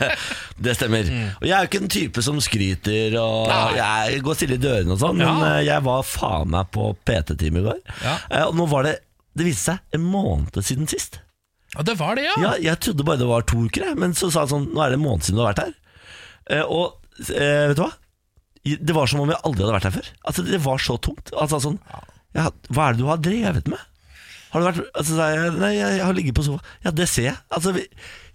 Speaker 1: det stemmer.
Speaker 2: Mm.
Speaker 1: Og jeg er jo ikke den type som skryter og jeg går stille i dørene og sånn, men
Speaker 2: Ja.
Speaker 1: eh, jeg var faen meg på PT-time i går.
Speaker 2: Ja.
Speaker 1: Eh, Og nå var det Det viste seg en måned siden sist.
Speaker 2: Ja, det var det, ja!
Speaker 1: Ja, jeg trodde bare det var to uker, jeg, men så sa han sånn Nå er det en måned siden du har vært her. Eh, Og eh, vet du hva? Det var som om jeg aldri hadde vært her før. Altså, det var så tungt. Han sa sånn ja, Hva er det du har drevet med? Har du vært altså, sa jeg, Nei, jeg, jeg har ligget på sofa. Ja, det ser jeg. Altså, vi,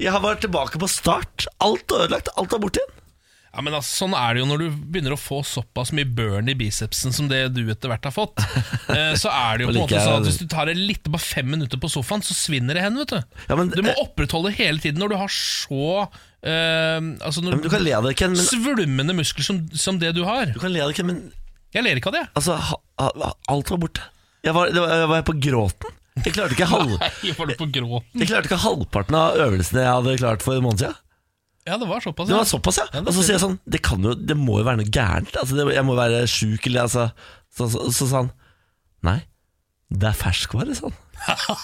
Speaker 1: jeg har vært tilbake på start. Alt er ødelagt. Alt er borte igjen.
Speaker 2: Ja, men altså, Sånn er det jo når du begynner å få såpass mye burn i bicepsen som det du etter hvert har fått. Eh, Så er det jo
Speaker 1: Og
Speaker 2: på en
Speaker 1: liker
Speaker 2: måte
Speaker 1: jeg
Speaker 2: sånn at
Speaker 1: det.
Speaker 2: Hvis du tar det litt bare fem minutter på sofaen, så svinner det hen. vet Du
Speaker 1: Ja, men,
Speaker 2: Du må
Speaker 1: eh,
Speaker 2: opprettholde hele tiden når du har så eh, altså
Speaker 1: ja,
Speaker 2: når
Speaker 1: men du kan le av det, Ken, men,
Speaker 2: Svulmende muskler som, som det du har.
Speaker 1: du kan le av det, Ken, men
Speaker 2: Jeg ler ikke av det.
Speaker 1: altså, ha, ha, alt var borte. Jeg var, det var, jeg var på gråten. Jeg klarte ikke, halv,
Speaker 2: Jeg får det på grå.
Speaker 1: jeg klarte ikke halvparten av øvelsene jeg hadde klart for en måned siden.
Speaker 2: Ja, det var såpass.
Speaker 1: Det
Speaker 2: ja.
Speaker 1: var såpass, ja.
Speaker 2: Ja, det
Speaker 1: Og så
Speaker 2: ser
Speaker 1: sier jeg sånn Det, kan jo, det må jo være noe gærent. Altså, det, jeg må være sjuk, eller altså Så så- så sa han Nei, det er ferskvare, sa han.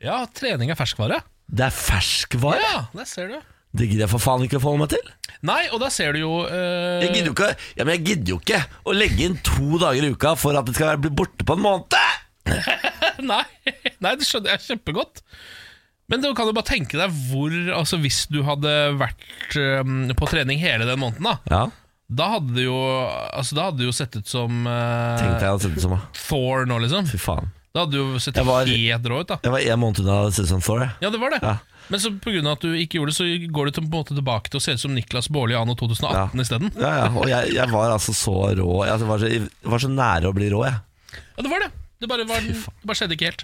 Speaker 2: Ja, trening er ferskvare.
Speaker 1: Det er ferskvare?
Speaker 2: Ja, der ser du.
Speaker 1: Det gidder jeg for faen ikke å forholde meg til.
Speaker 2: Nei, og da ser du jo eh,
Speaker 1: Jeg gidder jo ikke, ja, men jeg gidder jo ikke å legge inn to dager i uka for at det skal være- bli borte på en måned!
Speaker 2: Nei, nei, det skjønner jeg kjempegodt. Men du kan jo bare tenke deg hvor altså Hvis du hadde vært eh, på trening hele den måneden, da
Speaker 1: Ja,
Speaker 2: Da hadde det jo, altså, da hadde det jo sett ut som eh,
Speaker 1: tenkte jeg å sette det som.
Speaker 2: Thor nå, liksom.
Speaker 1: Fy faen.
Speaker 2: Da hadde det jo sett
Speaker 1: Jeg var-
Speaker 2: helt rå ut, da.
Speaker 1: Jeg var én måned unna å se som Thor, jeg.
Speaker 2: Ja, det var det.
Speaker 1: Ja.
Speaker 2: Men så pga. at du ikke gjorde det, så går du til, på en måte tilbake til å se ut som Niklas Baarli anno 2018 isteden.
Speaker 1: Ja, ja, og jeg, jeg var altså så rå. Jeg var så, jeg var så nære å bli rå, jeg.
Speaker 2: Ja, det var det. Det bare, var, det bare skjedde ikke helt.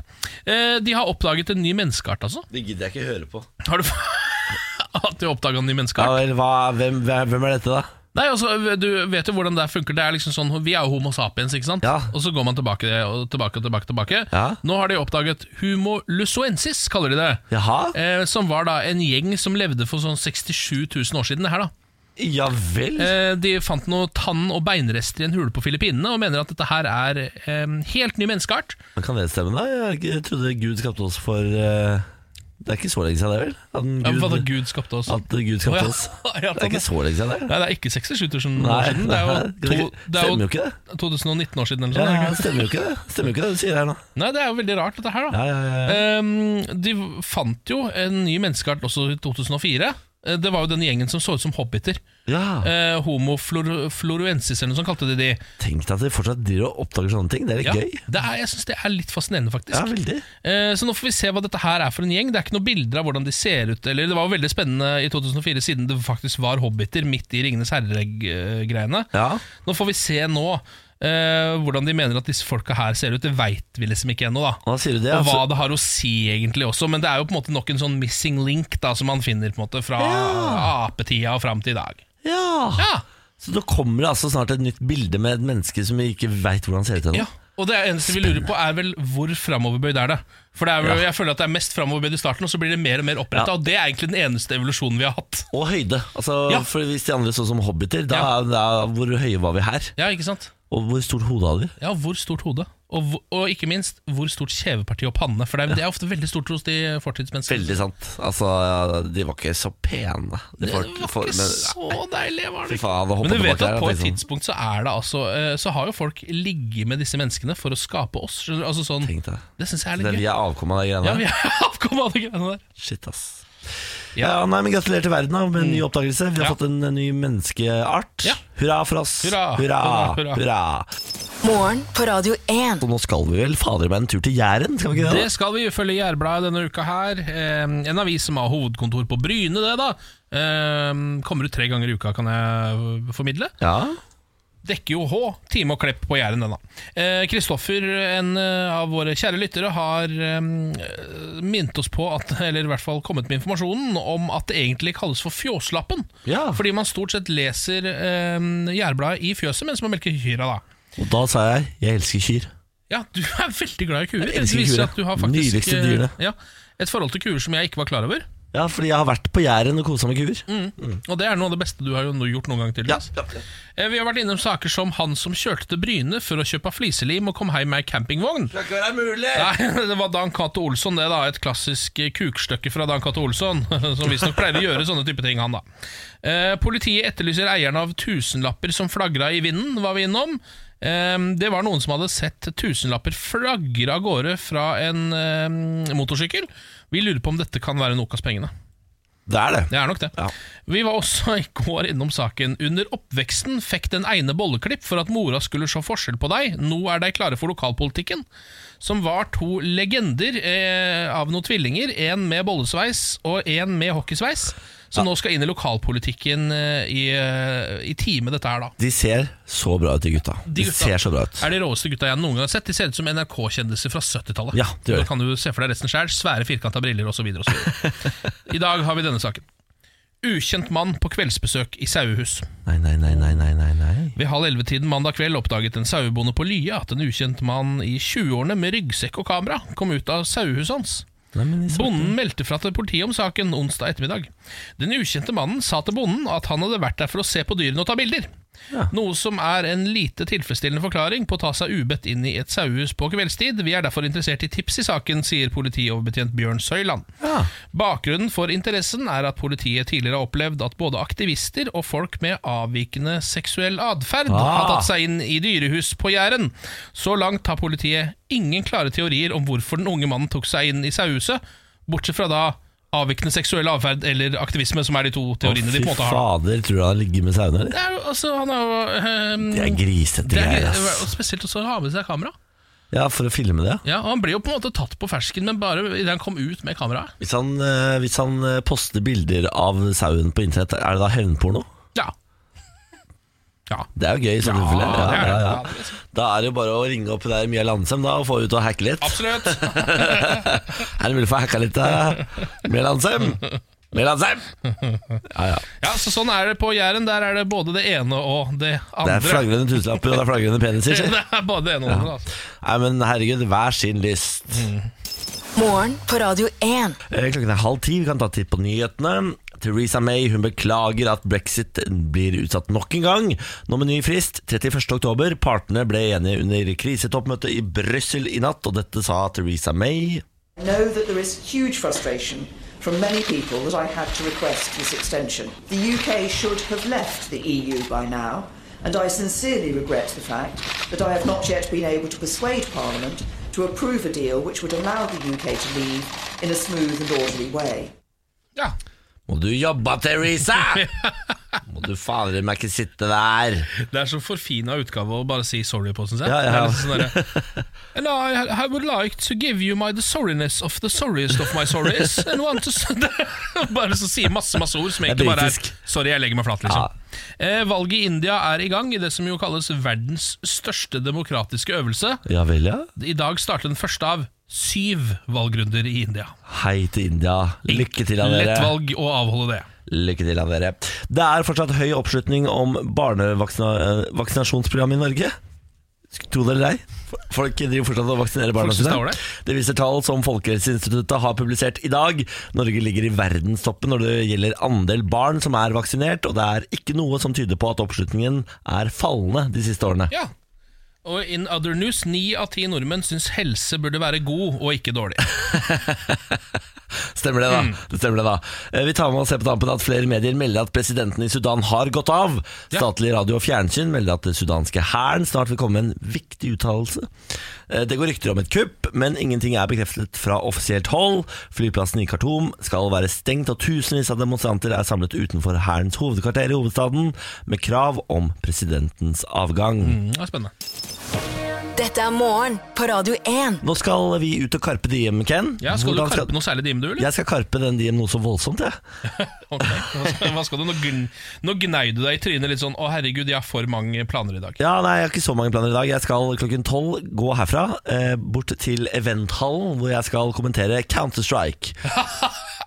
Speaker 2: Eh, de har oppdaget en ny menneskeart, altså.
Speaker 1: Det gidder jeg ikke høre på.
Speaker 2: Har du At de har oppdaget en ny menneskeart?
Speaker 1: Ja vel, hva, hvem, hvem er dette, da?
Speaker 2: Nei, altså, Du vet jo hvordan det her funker. Det er liksom sånn, Vi er jo Homo sapiens, ikke sant?
Speaker 1: Ja.
Speaker 2: Og så går man tilbake og tilbake. og tilbake, tilbake.
Speaker 1: Ja.
Speaker 2: Nå har de oppdaget Humo lusoensis, kaller de det.
Speaker 1: Jaha?
Speaker 2: Eh, som var da en gjeng som levde for sånn 67 000 år siden. det her da
Speaker 1: Ja vel?
Speaker 2: eh, De fant noe tann- og beinrester i en hule på Filippinene og mener at dette her er eh, helt ny menneskeart.
Speaker 1: Men Kan det stemme, da? Jeg, jeg trodde Gud skapte oss for eh, Det er ikke så lenge siden, det, vel? At en
Speaker 2: Ja,
Speaker 1: Gud,
Speaker 2: hva da Gud skapte oss?
Speaker 1: At Gud
Speaker 2: Å,
Speaker 1: skapte
Speaker 2: ja.
Speaker 1: oss.
Speaker 2: Ja,
Speaker 1: Det er ikke så lenge siden, det.
Speaker 2: Nei, det er ikke 67 000
Speaker 1: Nei,
Speaker 2: år siden. Det er
Speaker 1: det
Speaker 2: jo, to, det er
Speaker 1: stemmer jo
Speaker 2: jo
Speaker 1: ikke det.
Speaker 2: 2019 år siden eller
Speaker 1: Ja,
Speaker 2: sånn. er det
Speaker 1: ja, det
Speaker 2: ikke?
Speaker 1: stemmer jo ikke det Stemmer jo ikke det du sier her nå.
Speaker 2: Nei, det er jo veldig rart dette her da.
Speaker 1: Ja, ja, ja, ja.
Speaker 2: Ehm, de fant jo en ny menneskeart også i 2004. Eh, Det var jo den gjengen som så ut som hobbiter.
Speaker 1: ja.
Speaker 2: Eh, homo flor floruensis, eller noe sånt kalte de de.
Speaker 1: Tenk deg at de fortsatt driver og oppdager sånne ting. Det er litt
Speaker 2: Ja,
Speaker 1: gøy.
Speaker 2: det er, jeg syns det er litt fascinerende, faktisk.
Speaker 1: Ja, veldig.
Speaker 2: Eh, så nå får vi se hva dette her er for en gjeng. Det er ikke noen bilder av hvordan de ser ut. Eller Det var jo veldig spennende i 2004, siden det faktisk var hobbiter midt i Ringenes herre-greiene.
Speaker 1: Ja.
Speaker 2: Nå får vi se nå eh, hvordan de mener at disse folka her ser ut. Det veit vi liksom ikke ennå, da.
Speaker 1: Hva sier du det?
Speaker 2: Og hva
Speaker 1: Altså,
Speaker 2: det har å si egentlig også, men det er jo på en måte nok en sånn missing link da, som man finner på en måte fra apetida og fram til i dag.
Speaker 1: ja.
Speaker 2: Ja,
Speaker 1: Så da kommer det altså snart et nytt bilde med et menneske som vi ikke veit hvordan ser ut ennå.
Speaker 2: ja. Og det eneste vi lurer på, er vel hvor framoverbøyd er det? For det er vel, jeg føler at det er mest framoverbøyd i starten, og så blir det mer og mer oppretta.
Speaker 1: Ja.
Speaker 2: Og det er egentlig den eneste evolusjonen vi har hatt.
Speaker 1: Og høyde. Altså,
Speaker 2: Ja.
Speaker 1: for Hvis de andre så som hobbiter, da, da, hvor høye var vi her?
Speaker 2: Ja, ikke sant?
Speaker 1: Og hvor stort hode hadde vi?
Speaker 2: Ja, hvor stort hode? Og, hvor- og ikke minst, hvor stort kjeveparti og panne? For det er, det er ofte veldig stort hos de fortidsmenneskene.
Speaker 1: Veldig sant. Altså, ja, de var ikke så pene. De
Speaker 2: Det
Speaker 1: folk-
Speaker 2: var ikke
Speaker 1: folk- men-
Speaker 2: så deilig, var
Speaker 1: Fy
Speaker 2: det ikke?
Speaker 1: faen, det
Speaker 2: Men du
Speaker 1: hoppet
Speaker 2: vet
Speaker 1: tilbake
Speaker 2: at
Speaker 1: her,
Speaker 2: på et
Speaker 1: tenkte sånn,
Speaker 2: tidspunkt så er det altså eh, Så har jo folk ligget med disse menneskene for å skape oss. Skjønner du? Altså sånn
Speaker 1: Tenk deg.
Speaker 2: Det syns jeg er
Speaker 1: Det er
Speaker 2: litt gøy.
Speaker 1: vi er avkom av de greiene
Speaker 2: Ja,
Speaker 1: der.
Speaker 2: vi er avkom av de greiene der.
Speaker 1: Shit, ass.
Speaker 2: Ja. Mm.
Speaker 1: Ja, nei, men Gratulerer til verden da, med en ny oppdagelse. Vi har
Speaker 2: Ja.
Speaker 1: fått en, en ny menneskeart.
Speaker 2: Ja.
Speaker 1: Hurra for oss!
Speaker 2: Hurra,
Speaker 1: Hurra!
Speaker 2: hurra, hurra.
Speaker 1: hurra.
Speaker 3: Morgen på Radio 1.
Speaker 1: Så nå skal vi vel fader meg en tur til Jæren? Skal vi ikke det?
Speaker 2: Det skal vi ifølge Jærbladet denne uka her. Eh, En avis som har hovedkontor på Bryne, det, da. Eh, Kommer ut tre ganger i uka, kan jeg formidle.
Speaker 1: da? Ja.
Speaker 2: dekker jo H. Time og Klepp på Jæren, den da. Eh, Kristoffer, en eh, av våre kjære lyttere, har eh, minnet oss på, at, eller i hvert fall kommet med informasjonen, om at det egentlig kalles for Fjåslappen.
Speaker 1: Ja.
Speaker 2: Fordi man stort sett leser eh, Jærbladet i fjøset mens man melker kyra, da.
Speaker 1: Og da sa jeg 'jeg elsker kyr'.
Speaker 2: Ja, du er veldig glad i kuer.
Speaker 1: Jeg elsker
Speaker 2: Det viser
Speaker 1: kuer.
Speaker 2: at du har faktisk,
Speaker 1: Nydeligste
Speaker 2: eh,
Speaker 1: dyrene.
Speaker 2: Ja, et forhold til kuer som jeg ikke var klar over.
Speaker 1: Ja, fordi jeg har vært på Jæren og kosa med kuer.
Speaker 2: Mm. Og det er noe av det beste du har jo nå gjort noen gang til. Eh, Vi har vært innom saker som han som kjørte til Bryne for å kjøpe fliselim og kom hjem med ei campingvogn. Det, Nei, det var Dan Cato Olsson, det da. Et klassisk eh, kukstykke fra Dan Cato Olsson. Som visstnok pleier å gjøre sånne type ting, han da. Eh, politiet etterlyser eieren av tusenlapper som flagra i vinden, var vi innom. Eh, det var noen som hadde sett tusenlapper flagre av gårde fra en eh, motorsykkel. Vi lurer på om dette kan være Nokas pengene.
Speaker 1: Det er det.
Speaker 2: Det er nok det.
Speaker 1: Ja.
Speaker 2: Vi var også i går innom saken. Under oppveksten fikk den ene bolleklipp for at mora skulle se forskjell på deg. Nå er de klare for lokalpolitikken. Som var to legender eh, av noen tvillinger. En med bollesveis og en med hockeysveis. Som nå skal inn i lokalpolitikken eh, i, eh, i time dette her, da.
Speaker 1: De ser så bra ut, de gutta. De,
Speaker 2: gutta
Speaker 1: ser så bra ut.
Speaker 2: Er de råeste gutta jeg noen gang har sett. De ser ut som NRK-kjendiser fra 70-tallet.
Speaker 1: Ja, det gjør de.
Speaker 2: Da kan du se for deg resten sjøl. Svære, firkanta briller osv. I dag har vi denne saken. Ukjent mann på kveldsbesøk i sauehus.
Speaker 1: Nei, nei, nei, nei, nei, nei, nei.
Speaker 2: Ved halv elleve-tiden mandag kveld oppdaget en sauebonde på Lya at en ukjent mann i 20-årene med ryggsekk og kamera kom ut av sauehuset hans.
Speaker 1: Nei, men de så-
Speaker 2: Bonden meldte fra til politiet om saken onsdag ettermiddag. Den ukjente mannen sa til bonden at han hadde vært der for å se på dyrene og ta bilder. Noe som er en lite tilfredsstillende forklaring på å ta seg ubedt inn i et sauehus på kveldstid. Vi er derfor interessert i tips i saken, sier politioverbetjent Bjørn Søyland.
Speaker 1: Ja.
Speaker 2: Bakgrunnen for interessen er at politiet tidligere har opplevd at både aktivister og folk med avvikende seksuell atferd har
Speaker 1: Ah.
Speaker 2: tatt seg inn i dyrehus på Jæren. Så langt har politiet ingen klare teorier om hvorfor den unge mannen tok seg inn i sauehuset, bortsett fra da avvikende seksuell atferd eller aktivisme, som er de to
Speaker 1: Å,
Speaker 2: teoriene de på en måte har.
Speaker 1: fader, tror du han ligger med sauene, eller?
Speaker 2: Det er jo, altså, han er jo ehm,
Speaker 1: Det er grisete
Speaker 2: det er
Speaker 1: greier,
Speaker 2: gre- og
Speaker 1: ass.
Speaker 2: Spesielt også å ha med seg kamera.
Speaker 1: Ja, for å filme det.
Speaker 2: Ja, og Han ble jo på en måte tatt på fersken, men bare idet han kom ut med kameraet.
Speaker 1: Hvis han, eh, hvis han eh, poster bilder av sauen på internett, er det da hevnporno?
Speaker 2: Ja. Ja.
Speaker 1: Det er jo gøy i så tilfelle.
Speaker 2: det
Speaker 1: Ja,
Speaker 2: er det.
Speaker 1: ja,
Speaker 2: Ja,
Speaker 1: ja.
Speaker 2: det er
Speaker 1: Da er det jo bare å ringe opp der Mia Landsem da, og få ut og hacke litt.
Speaker 2: Absolutt.
Speaker 1: Er det mulig å få hacka litt, da? Mia Landsem? Mia Landsem! Ja, ja.
Speaker 2: Ja, så Sånn er det på Jæren. Der er det både det ene og det
Speaker 1: Det
Speaker 2: andre.
Speaker 1: er flagrende tusenlapper, og det er flagrende peniser. sier.
Speaker 2: Det er både det ene og det andre. Altså.
Speaker 1: Nei, men herregud, hver sin lyst.
Speaker 3: Morgen på Radio 1.
Speaker 1: Eh, Klokken er halv ti, vi kan ta tid på nyhetene. Theresa May hun beklager at brexit blir utsatt nok en gang. Nå med ny frist, 31. oktober. Partene ble enige under krisetoppmøtet i Brussel i natt, og dette sa Theresa May.
Speaker 7: know that there is huge frustration from many people that I had to request this extension. The UK should have left the EU by now, and I sincerely regret the fact that I have not yet been able to persuade Parliament to approve a deal which would allow the UK to leave in a smooth and orderly way.
Speaker 2: Ja.
Speaker 1: Må du jobbe, Theresa! Må du fader meg ikke sitte der.
Speaker 2: Det er så forfina utgave å bare si sorry på, syns jeg.
Speaker 1: Ja, ja.
Speaker 2: Det er litt sånn derre, And I, I would like to give you my the sorriness of the sorriest of my sorries. And want to s- Bare så sier masse masse ord som
Speaker 1: Det
Speaker 2: egentlig
Speaker 1: er
Speaker 2: bare er
Speaker 1: britisk.
Speaker 2: Sorry, jeg legger meg flat, liksom. Eh, valget i India er i gang i det som jo kalles verdens største demokratiske øvelse.
Speaker 1: Ja vel, ja.
Speaker 2: I dag starter den første av syv valgrunder i India.
Speaker 1: Hei til India. Lykke til, da, dere.
Speaker 2: Lett valg å avholde det.
Speaker 1: Lykke til av dere. Det er fortsatt høy oppslutning om barnevaksinasjonsprogrammet i Norge. Tro det eller ei, folk driver fortsatt og vaksinerer barna
Speaker 2: Folk synes
Speaker 1: sine.
Speaker 2: det er ålreit.
Speaker 1: Det viser tall som Folkehelseinstituttet har publisert i dag. Norge ligger i verdenstoppen når det gjelder andel barn som er vaksinert, og det er ikke noe som tyder på at oppslutningen er fallende de siste årene.
Speaker 2: Ja, Og in other news, ni av ti nordmenn syns helse burde være god og ikke dårlig.
Speaker 1: Stemmer det, da.
Speaker 2: Mm.
Speaker 1: Det stemmer det da Eh, Vi tar med og ser på tampen at flere medier melder at presidenten i Sudan har gått av. Statlig radio og fjernsyn melder at den sudanske hæren snart vil komme med en viktig uttalelse. Eh, Det går rykter om et kupp, men ingenting er bekreftet fra offisielt hold. Flyplassen i Khartoum skal være stengt, og tusenvis av demonstranter er samlet utenfor hærens hovedkvarter i hovedstaden med krav om presidentens avgang.
Speaker 2: Mm, Det er spennende.
Speaker 3: Dette er morgen på Radio 1.
Speaker 1: Nå skal vi ut og karpe diem, Ken.
Speaker 2: Ja, skal du
Speaker 1: Hvordan
Speaker 2: karpe noe særlig dim, du, eller?
Speaker 1: Jeg skal karpe den diem noe så voldsomt, jeg.
Speaker 2: Ok, hva skal- Hva skal du? Nå, gn nå gnei du deg i trynet litt sånn 'Å, herregud, jeg har for mange planer i dag'.
Speaker 1: Ja, nei, Jeg har ikke så mange planer i dag. Jeg skal klokken tolv gå herfra eh, bort til eventhallen, hvor jeg skal kommentere Counter-Strike.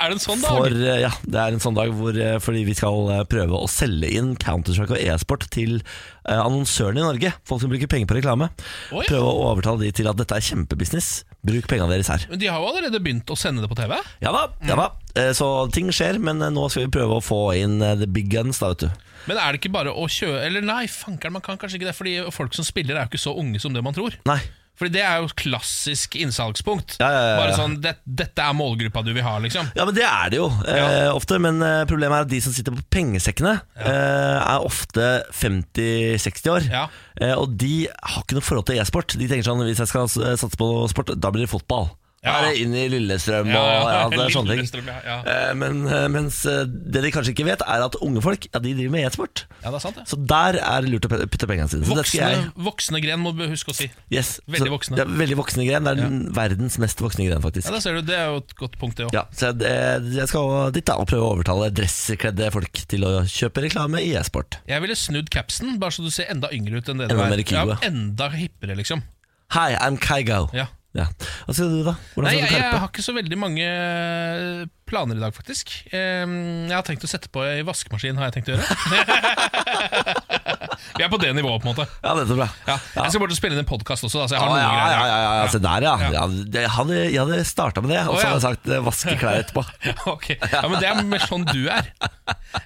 Speaker 2: Er det en sånn
Speaker 1: For
Speaker 2: dag?
Speaker 1: eh, ja, Det er en sånn dag hvor, eh, fordi vi skal eh, prøve å selge inn Counter-Strike og e-sport til eh, annonsørene i Norge. Folk som bruker penger på reklame.
Speaker 2: Oi.
Speaker 1: Prøve å overtale de til at dette er kjempebusiness. Bruk pengene deres her.
Speaker 2: Men De har jo allerede begynt å sende det på TV.
Speaker 1: Ja da, ja da.
Speaker 2: Mm.
Speaker 1: Eh, Så ting skjer, men eh, nå skal vi prøve å få inn eh, the big guns, da, vet du.
Speaker 2: Men er det ikke bare å kjøre Eller nei, fankeren, man kan kanskje ikke det. Fordi folk som spiller, er jo ikke så unge som det man tror.
Speaker 1: Nei.
Speaker 2: Fordi det er jo klassisk innsalgspunkt.
Speaker 1: Ja, ja, ja, ja.
Speaker 2: Bare sånn det, 'Dette er målgruppa du vil ha', liksom.
Speaker 1: Ja, men det er det jo eh, ofte. Men eh, problemet er at de som sitter på pengesekkene, eh, er ofte 50-60 år.
Speaker 2: Ja.
Speaker 1: Eh, og de har ikke noe forhold til e-sport. De tenker sånn hvis jeg skal eh, satse på noe sport, da blir det fotball. Da
Speaker 2: Ja.
Speaker 1: er det inn i Lillestrøm
Speaker 2: Ja, ja,
Speaker 1: og ja, det er sånne ting.
Speaker 2: Lillestrøm, ja, ja.
Speaker 1: Eh, Men, eh, mens eh, det de kanskje ikke vet, er at unge folk ja, de driver med e-sport.
Speaker 2: Ja, det er sant, det.
Speaker 1: Så der er det lurt å putte pengene sine. Så dette skal jeg,
Speaker 2: Voksne, voksne gren må du huske å si.
Speaker 1: yes.
Speaker 2: veldig
Speaker 1: Så-
Speaker 2: voksne.
Speaker 1: Ja, veldig voksne gren. Det er den verdens mest voksne gren, faktisk.
Speaker 2: Ja, da ser du, Det er jo et godt punkt, det òg.
Speaker 1: Ja, så jeg, eh, jeg skal dit da og prøve å overtale dresserkledde folk til å kjøpe reklame i e-sport.
Speaker 2: Jeg ville snudd capsen, bare så du ser enda yngre ut enn det du
Speaker 1: Enda
Speaker 2: er.
Speaker 1: mer kilo,
Speaker 2: ja,
Speaker 1: ja.
Speaker 2: enda hippere, liksom.
Speaker 1: Hi, I'm Kygo.
Speaker 2: Ja.
Speaker 1: Hva skal du, da? Hvordan
Speaker 2: Nei,
Speaker 1: skal
Speaker 2: jeg,
Speaker 1: du
Speaker 2: jeg
Speaker 1: karpe?
Speaker 2: har ikke så veldig mange eh, planer i dag, faktisk. Ehm, Jeg har tenkt å sette på ei vaskemaskin, har jeg tenkt å gjøre. Vi er på det nivået, på en måte.
Speaker 1: Ja, dette er bra.
Speaker 2: Ja. Jeg skal bort og spille inn en podkast også, da, så jeg
Speaker 1: Å,
Speaker 2: har
Speaker 1: ja,
Speaker 2: noen
Speaker 1: ja,
Speaker 2: greier.
Speaker 1: ja, ja, ja, se der, ja.
Speaker 2: Ja.
Speaker 1: ja. det- jeg hadde, jeg hadde starta med det, og
Speaker 2: Å,
Speaker 1: så
Speaker 2: ja.
Speaker 1: hadde jeg sagt eh, vaske klær etterpå.
Speaker 2: Ok. ja, men Det er mer sånn du er.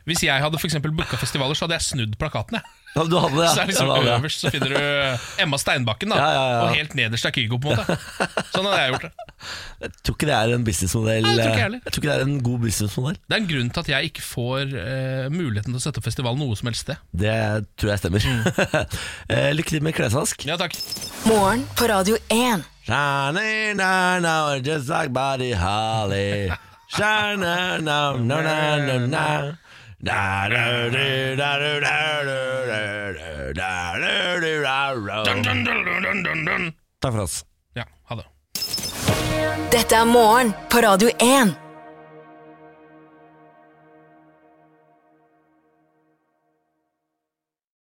Speaker 2: Hvis jeg hadde for eksempel booka festivaler, så hadde jeg snudd plakatene.
Speaker 1: Ja, du hadde det, ja.
Speaker 2: Så det er liksom
Speaker 1: ja, du hadde det.
Speaker 2: Øverst så finner du Emma Steinbakken, da
Speaker 1: Ja, ja, ja.
Speaker 2: og helt nederst er Kygo. på en måte Sånn hadde jeg gjort det.
Speaker 1: Jeg tror ikke det er en businessmodell
Speaker 2: Nei, jeg tror ikke
Speaker 1: eh,
Speaker 2: heller.
Speaker 1: Jeg tror ikke det er en god businessmodell.
Speaker 2: Det er en grunn til at jeg ikke får eh, muligheten til å sette opp festival noe som helst sted.
Speaker 1: Det tror jeg stemmer.
Speaker 2: Mm.
Speaker 1: Eh, Lykke til med klesvask.
Speaker 2: Ja, takk.
Speaker 3: Morgen på Radio 1.
Speaker 1: Shiny, no, no, just like Buddy Holly. Shiny, no, no, no, no, no. Da, da, do, da, do, da, do, da, do, da, do, do, da,
Speaker 2: Dun,
Speaker 1: do.
Speaker 2: dun, dun, dun, dun, dun, dun.
Speaker 1: Takk for oss.
Speaker 2: Ja, ha det.
Speaker 3: Dette er morgen på Radio 1.